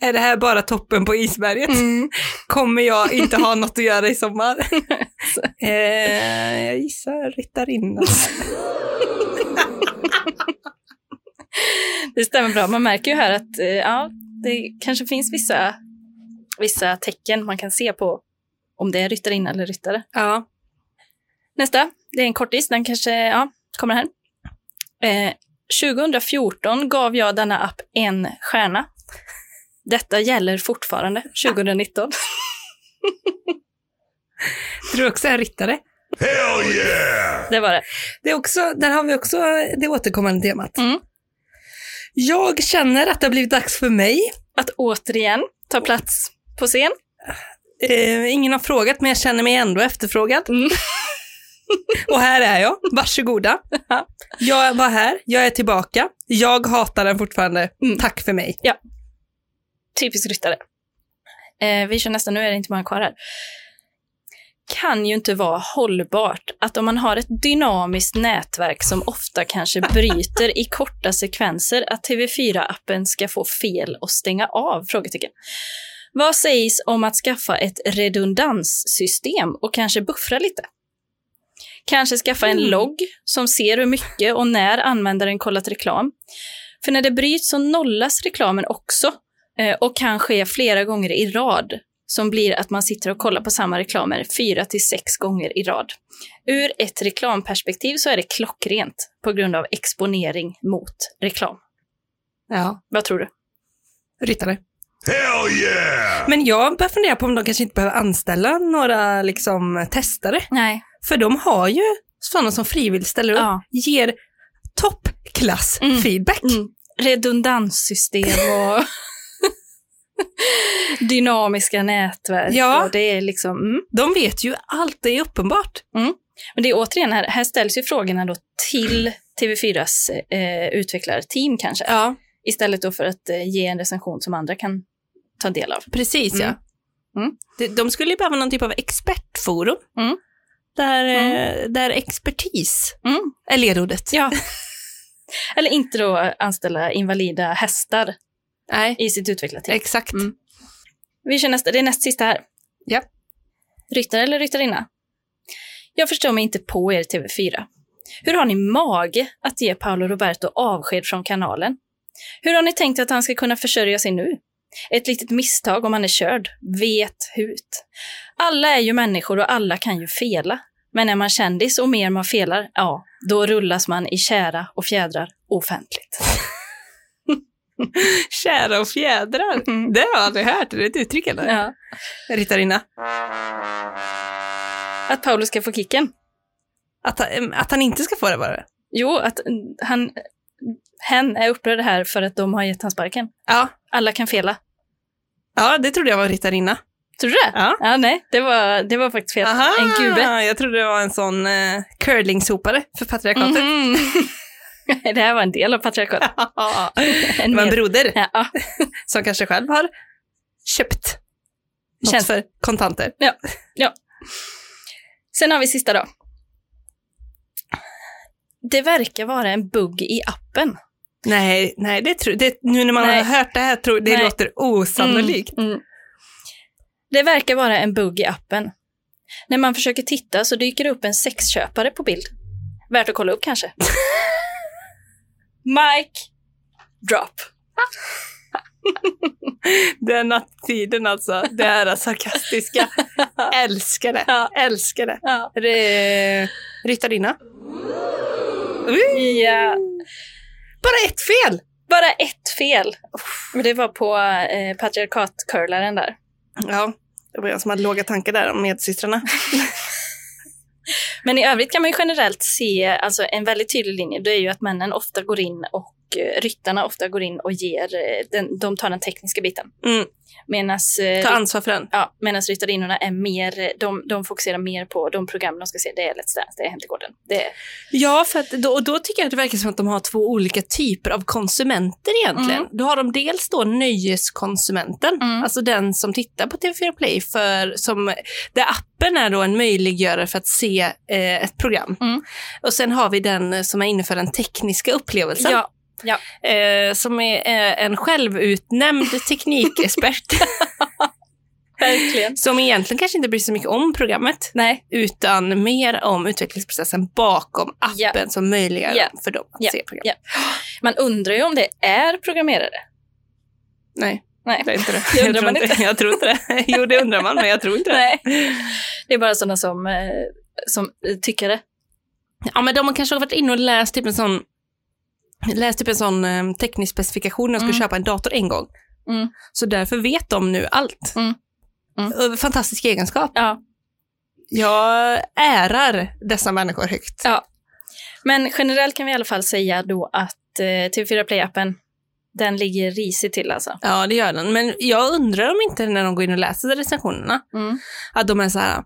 Speaker 3: är det här bara toppen på isberget?
Speaker 1: Mm.
Speaker 3: Kommer jag inte ha något att göra i sommar? eh, jag gissar ryttarinnan.
Speaker 1: Det stämmer bra. Man märker ju här att eh, ja, det kanske finns vissa, vissa tecken man kan se på om det är ryttarinna eller ryttare.
Speaker 3: ja.
Speaker 1: Nästa, det är en kortis, den kanske ja, kommer här. Eh, 2014 gav jag denna app en stjärna. Detta gäller fortfarande 2019.
Speaker 3: Tror du också jag är ryttare?
Speaker 4: Hell yeah!
Speaker 1: Det var det.
Speaker 3: Det är också, där har vi också det återkommande temat.
Speaker 1: Mm.
Speaker 3: Jag känner att det har blivit dags för mig.
Speaker 1: Att återigen ta plats på scen.
Speaker 3: Eh, ingen har frågat, men jag känner mig ändå efterfrågad.
Speaker 1: Mm.
Speaker 3: Och här är jag, varsågoda. Jag var här, jag är tillbaka. Jag hatar den fortfarande.
Speaker 1: Mm.
Speaker 3: Tack för mig.
Speaker 1: Typiskt ryttare. Eh, vi kör nästa, nu är det inte många kvar här. Kan ju inte vara hållbart att om man har ett dynamiskt nätverk som ofta kanske bryter i korta sekvenser, att TV4-appen ska få fel och stänga av? Frågetecken. Vad sägs om att skaffa ett redundanssystem och kanske buffra lite? Kanske skaffa en logg som ser hur mycket och när användaren kollat reklam. För när det bryts så nollas reklamen också Eh, och kan ske flera gånger i rad som blir att man sitter och kollar på samma reklamer fyra till sex gånger i rad. Ur ett reklamperspektiv så är det klockrent på grund av exponering mot reklam.
Speaker 3: Ja.
Speaker 1: Vad tror du?
Speaker 3: Ryttare.
Speaker 4: Hell yeah!
Speaker 3: Men jag börjar fundera på om de kanske inte behöver anställa några liksom, testare.
Speaker 1: Nej.
Speaker 3: För de har ju sådana som frivilligt ställer upp.
Speaker 1: Ja.
Speaker 3: Ger topp klass
Speaker 1: Mm.
Speaker 3: feedback.
Speaker 1: Mm. Redundanssystem och dynamiska nätverk.
Speaker 3: Ja.
Speaker 1: Och det är liksom, mm.
Speaker 3: De vet ju allt, det är uppenbart.
Speaker 1: Men det är återigen, här, här ställs ju frågorna då till TV4s eh, utvecklarteam kanske.
Speaker 3: Ja,
Speaker 1: Istället då för att eh, ge en recension som andra kan ta del av.
Speaker 3: precis
Speaker 1: Mm.
Speaker 3: ja.
Speaker 1: Mm.
Speaker 3: De, de skulle ju behöva någon typ av expertforum.
Speaker 1: Mm.
Speaker 3: Där, eh, där expertis
Speaker 1: Mm.
Speaker 3: är ledordet.
Speaker 1: Ja. Eller inte då anställa invalida hästar
Speaker 3: Nej,
Speaker 1: i sitt utvecklarteam.
Speaker 3: exakt.
Speaker 1: Mm. Vi kör nästa, det är näst sista här.
Speaker 3: Ja.
Speaker 1: Ryttare eller ryttarinna? Jag förstår mig inte på er TV4. Hur har ni mage att ge Paolo Roberto avsked från kanalen? Hur har ni tänkt att han ska kunna försörja sig nu? Ett litet misstag om han är körd. Vet hut. Alla är ju människor och alla kan ju fela. Men är man kändis och mer man felar, ja, då rullas man i kära och fjädrar offentligt.
Speaker 3: Kära och fjädrar.
Speaker 1: Mm.
Speaker 3: Det har jag aldrig hört, det är ett uttryck eller?
Speaker 1: Ja.
Speaker 3: Ritarina.
Speaker 1: Att Paolo ska få kicken.
Speaker 3: Att, han- em, att han inte ska få det bara?
Speaker 1: Jo, att mm, han, hen är upprörd här för att de har gett han sparken.
Speaker 3: Ja.
Speaker 1: Alla kan fela.
Speaker 3: Ja, det trodde jag var ritarinna.
Speaker 1: Tror du det?
Speaker 3: Ja.
Speaker 1: Ja, nej, det var, det var faktiskt fel. En gube.
Speaker 3: Jag trodde det var en sån eh, curlingsopare för patriarkatet.
Speaker 1: Mhm. det här var en del av patriarkatet. En
Speaker 3: det var en
Speaker 1: med-
Speaker 3: broder
Speaker 1: ja, ja.
Speaker 3: som kanske själv har köpt något
Speaker 1: Känns-
Speaker 3: för kontanter.
Speaker 1: Sen har vi sista då. Det verkar vara en bugg i appen.
Speaker 3: Nej, nej det tror det, nu när man
Speaker 1: Nej.
Speaker 3: har hört det här tror det
Speaker 1: Nej.
Speaker 3: låter osannolikt.
Speaker 1: Mm, mm. Det verkar vara en bugg i appen. När man försöker titta så dyker det upp en sexköpare på bild. Värt att kolla upp kanske. Mike drop.
Speaker 3: Den attityden alltså, det här sarkastiska. älskar det, älskar det.
Speaker 1: Ja.
Speaker 3: Är
Speaker 1: eh,
Speaker 3: det Ryttarinna?
Speaker 1: ja.
Speaker 3: Bara ett fel!
Speaker 1: Bara ett fel. Och det var på eh, patriarkatcurlaren där.
Speaker 3: Ja, det var jag som hade låga tankar där om medsystrarna.
Speaker 1: Men i övrigt kan man ju generellt se alltså, en väldigt tydlig linje. Det är ju att männen ofta går in och eh, ryttarna ofta går in och ger, eh, den, de tar den tekniska biten.
Speaker 3: Mm.
Speaker 1: Medan eh,
Speaker 3: Ta ansvar för den.
Speaker 1: Ja, medan ryttarinnorna är mer, de, de fokuserar mer på de program de ska se. Det är Let's Dance, det är Hem till gården. Det är,
Speaker 3: Ja, för att då, och då tycker jag att det verkar som att de har två olika typer av konsumenter egentligen. Då har de dels då nöjeskonsumenten,
Speaker 1: Mm.
Speaker 3: alltså den som tittar på TV4 Play, för, som, där appen är då en möjliggörare för att se eh, ett program.
Speaker 1: Mm.
Speaker 3: Och sen har vi den som är inne för den tekniska upplevelsen, eh, som är eh, en självutnämnd teknikexpert
Speaker 1: verkligen.
Speaker 3: som egentligen kanske inte bryr sig så mycket om programmet,
Speaker 1: Nej,
Speaker 3: utan mer om utvecklingsprocessen bakom appen
Speaker 1: Ja.
Speaker 3: som möjliggör
Speaker 1: Ja.
Speaker 3: för dem att
Speaker 1: Ja.
Speaker 3: se program.
Speaker 1: Ja. man undrar ju om det är programmerare.
Speaker 3: Nej.
Speaker 1: Nej.
Speaker 3: Det är inte det.
Speaker 1: Det undrar man
Speaker 3: jag tror inte. Jag tror inte det. Jo, det undrar man, men jag tror inte det.
Speaker 1: Nej. Det är bara sådana som, eh, som eh, tycker det.
Speaker 3: Ja, men de har kanske varit inne och läst typ en sån, läst typ en sån eh, teknisk specifikation när de skulle
Speaker 1: Mm.
Speaker 3: köpa en dator en gång.
Speaker 1: Mm.
Speaker 3: Så därför vet de nu allt.
Speaker 1: Mm.
Speaker 3: Eh, Fantastisk egenskap.
Speaker 1: Ja.
Speaker 3: Jag ärar dessa människor högt.
Speaker 1: Ja. Men generellt kan vi i alla fall säga då att eh, TV4 Play-appen, den ligger risigt till alltså.
Speaker 3: Ja, det gör den. Men jag undrar om inte när de går in och läser recensionerna,
Speaker 1: Mm.
Speaker 3: att de är så här,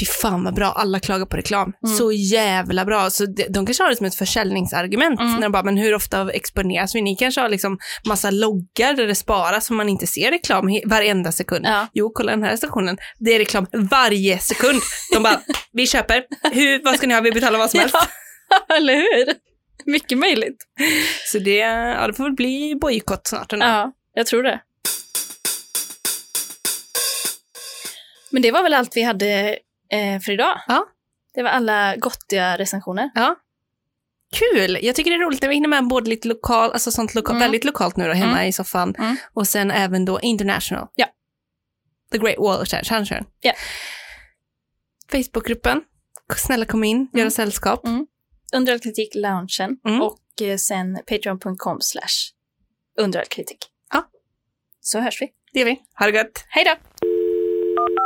Speaker 3: fy fan vad bra, alla klagar på reklam.
Speaker 1: Mm.
Speaker 3: Så jävla bra. Så de, de kanske har det som ett försäljningsargument.
Speaker 1: Mm.
Speaker 3: När de bara, men hur ofta exponeras vi? Ni kanske har liksom massa loggar där det sparas så man inte ser reklam he- varenda sekund.
Speaker 1: Ja.
Speaker 3: Jo, kolla den här stationen. Det är reklam varje sekund. De bara, vi köper. Hur, vad ska ni ha? Vi betalar vad som helst.
Speaker 1: Ja, eller hur? Mycket möjligt.
Speaker 3: Så det, ja, det får väl bli bojkott snart. ändå.
Speaker 1: Ja, jag tror det. Men det var väl allt vi hade eh, för idag?
Speaker 3: Ja.
Speaker 1: Det var alla gottiga recensioner.
Speaker 3: Kul! Jag tycker det är roligt när vi hinner med både lite lokal, alltså sånt loka,
Speaker 1: Mm.
Speaker 3: väldigt lokalt nu då, hemma i soffan
Speaker 1: Mm.
Speaker 3: och sen även då international.
Speaker 1: Ja.
Speaker 3: The Great Wall of Challenge.
Speaker 1: Ja.
Speaker 3: Facebookgruppen. Snälla kom in, göra
Speaker 1: Mm.
Speaker 3: sällskap.
Speaker 1: Mm. Underhållkritik, loungen
Speaker 3: Mm.
Speaker 1: och eh, sen patreon.com slash underhållkritik.
Speaker 3: Ja.
Speaker 1: Så hörs vi.
Speaker 3: Det gör vi. Ha det gött!
Speaker 1: Hej då!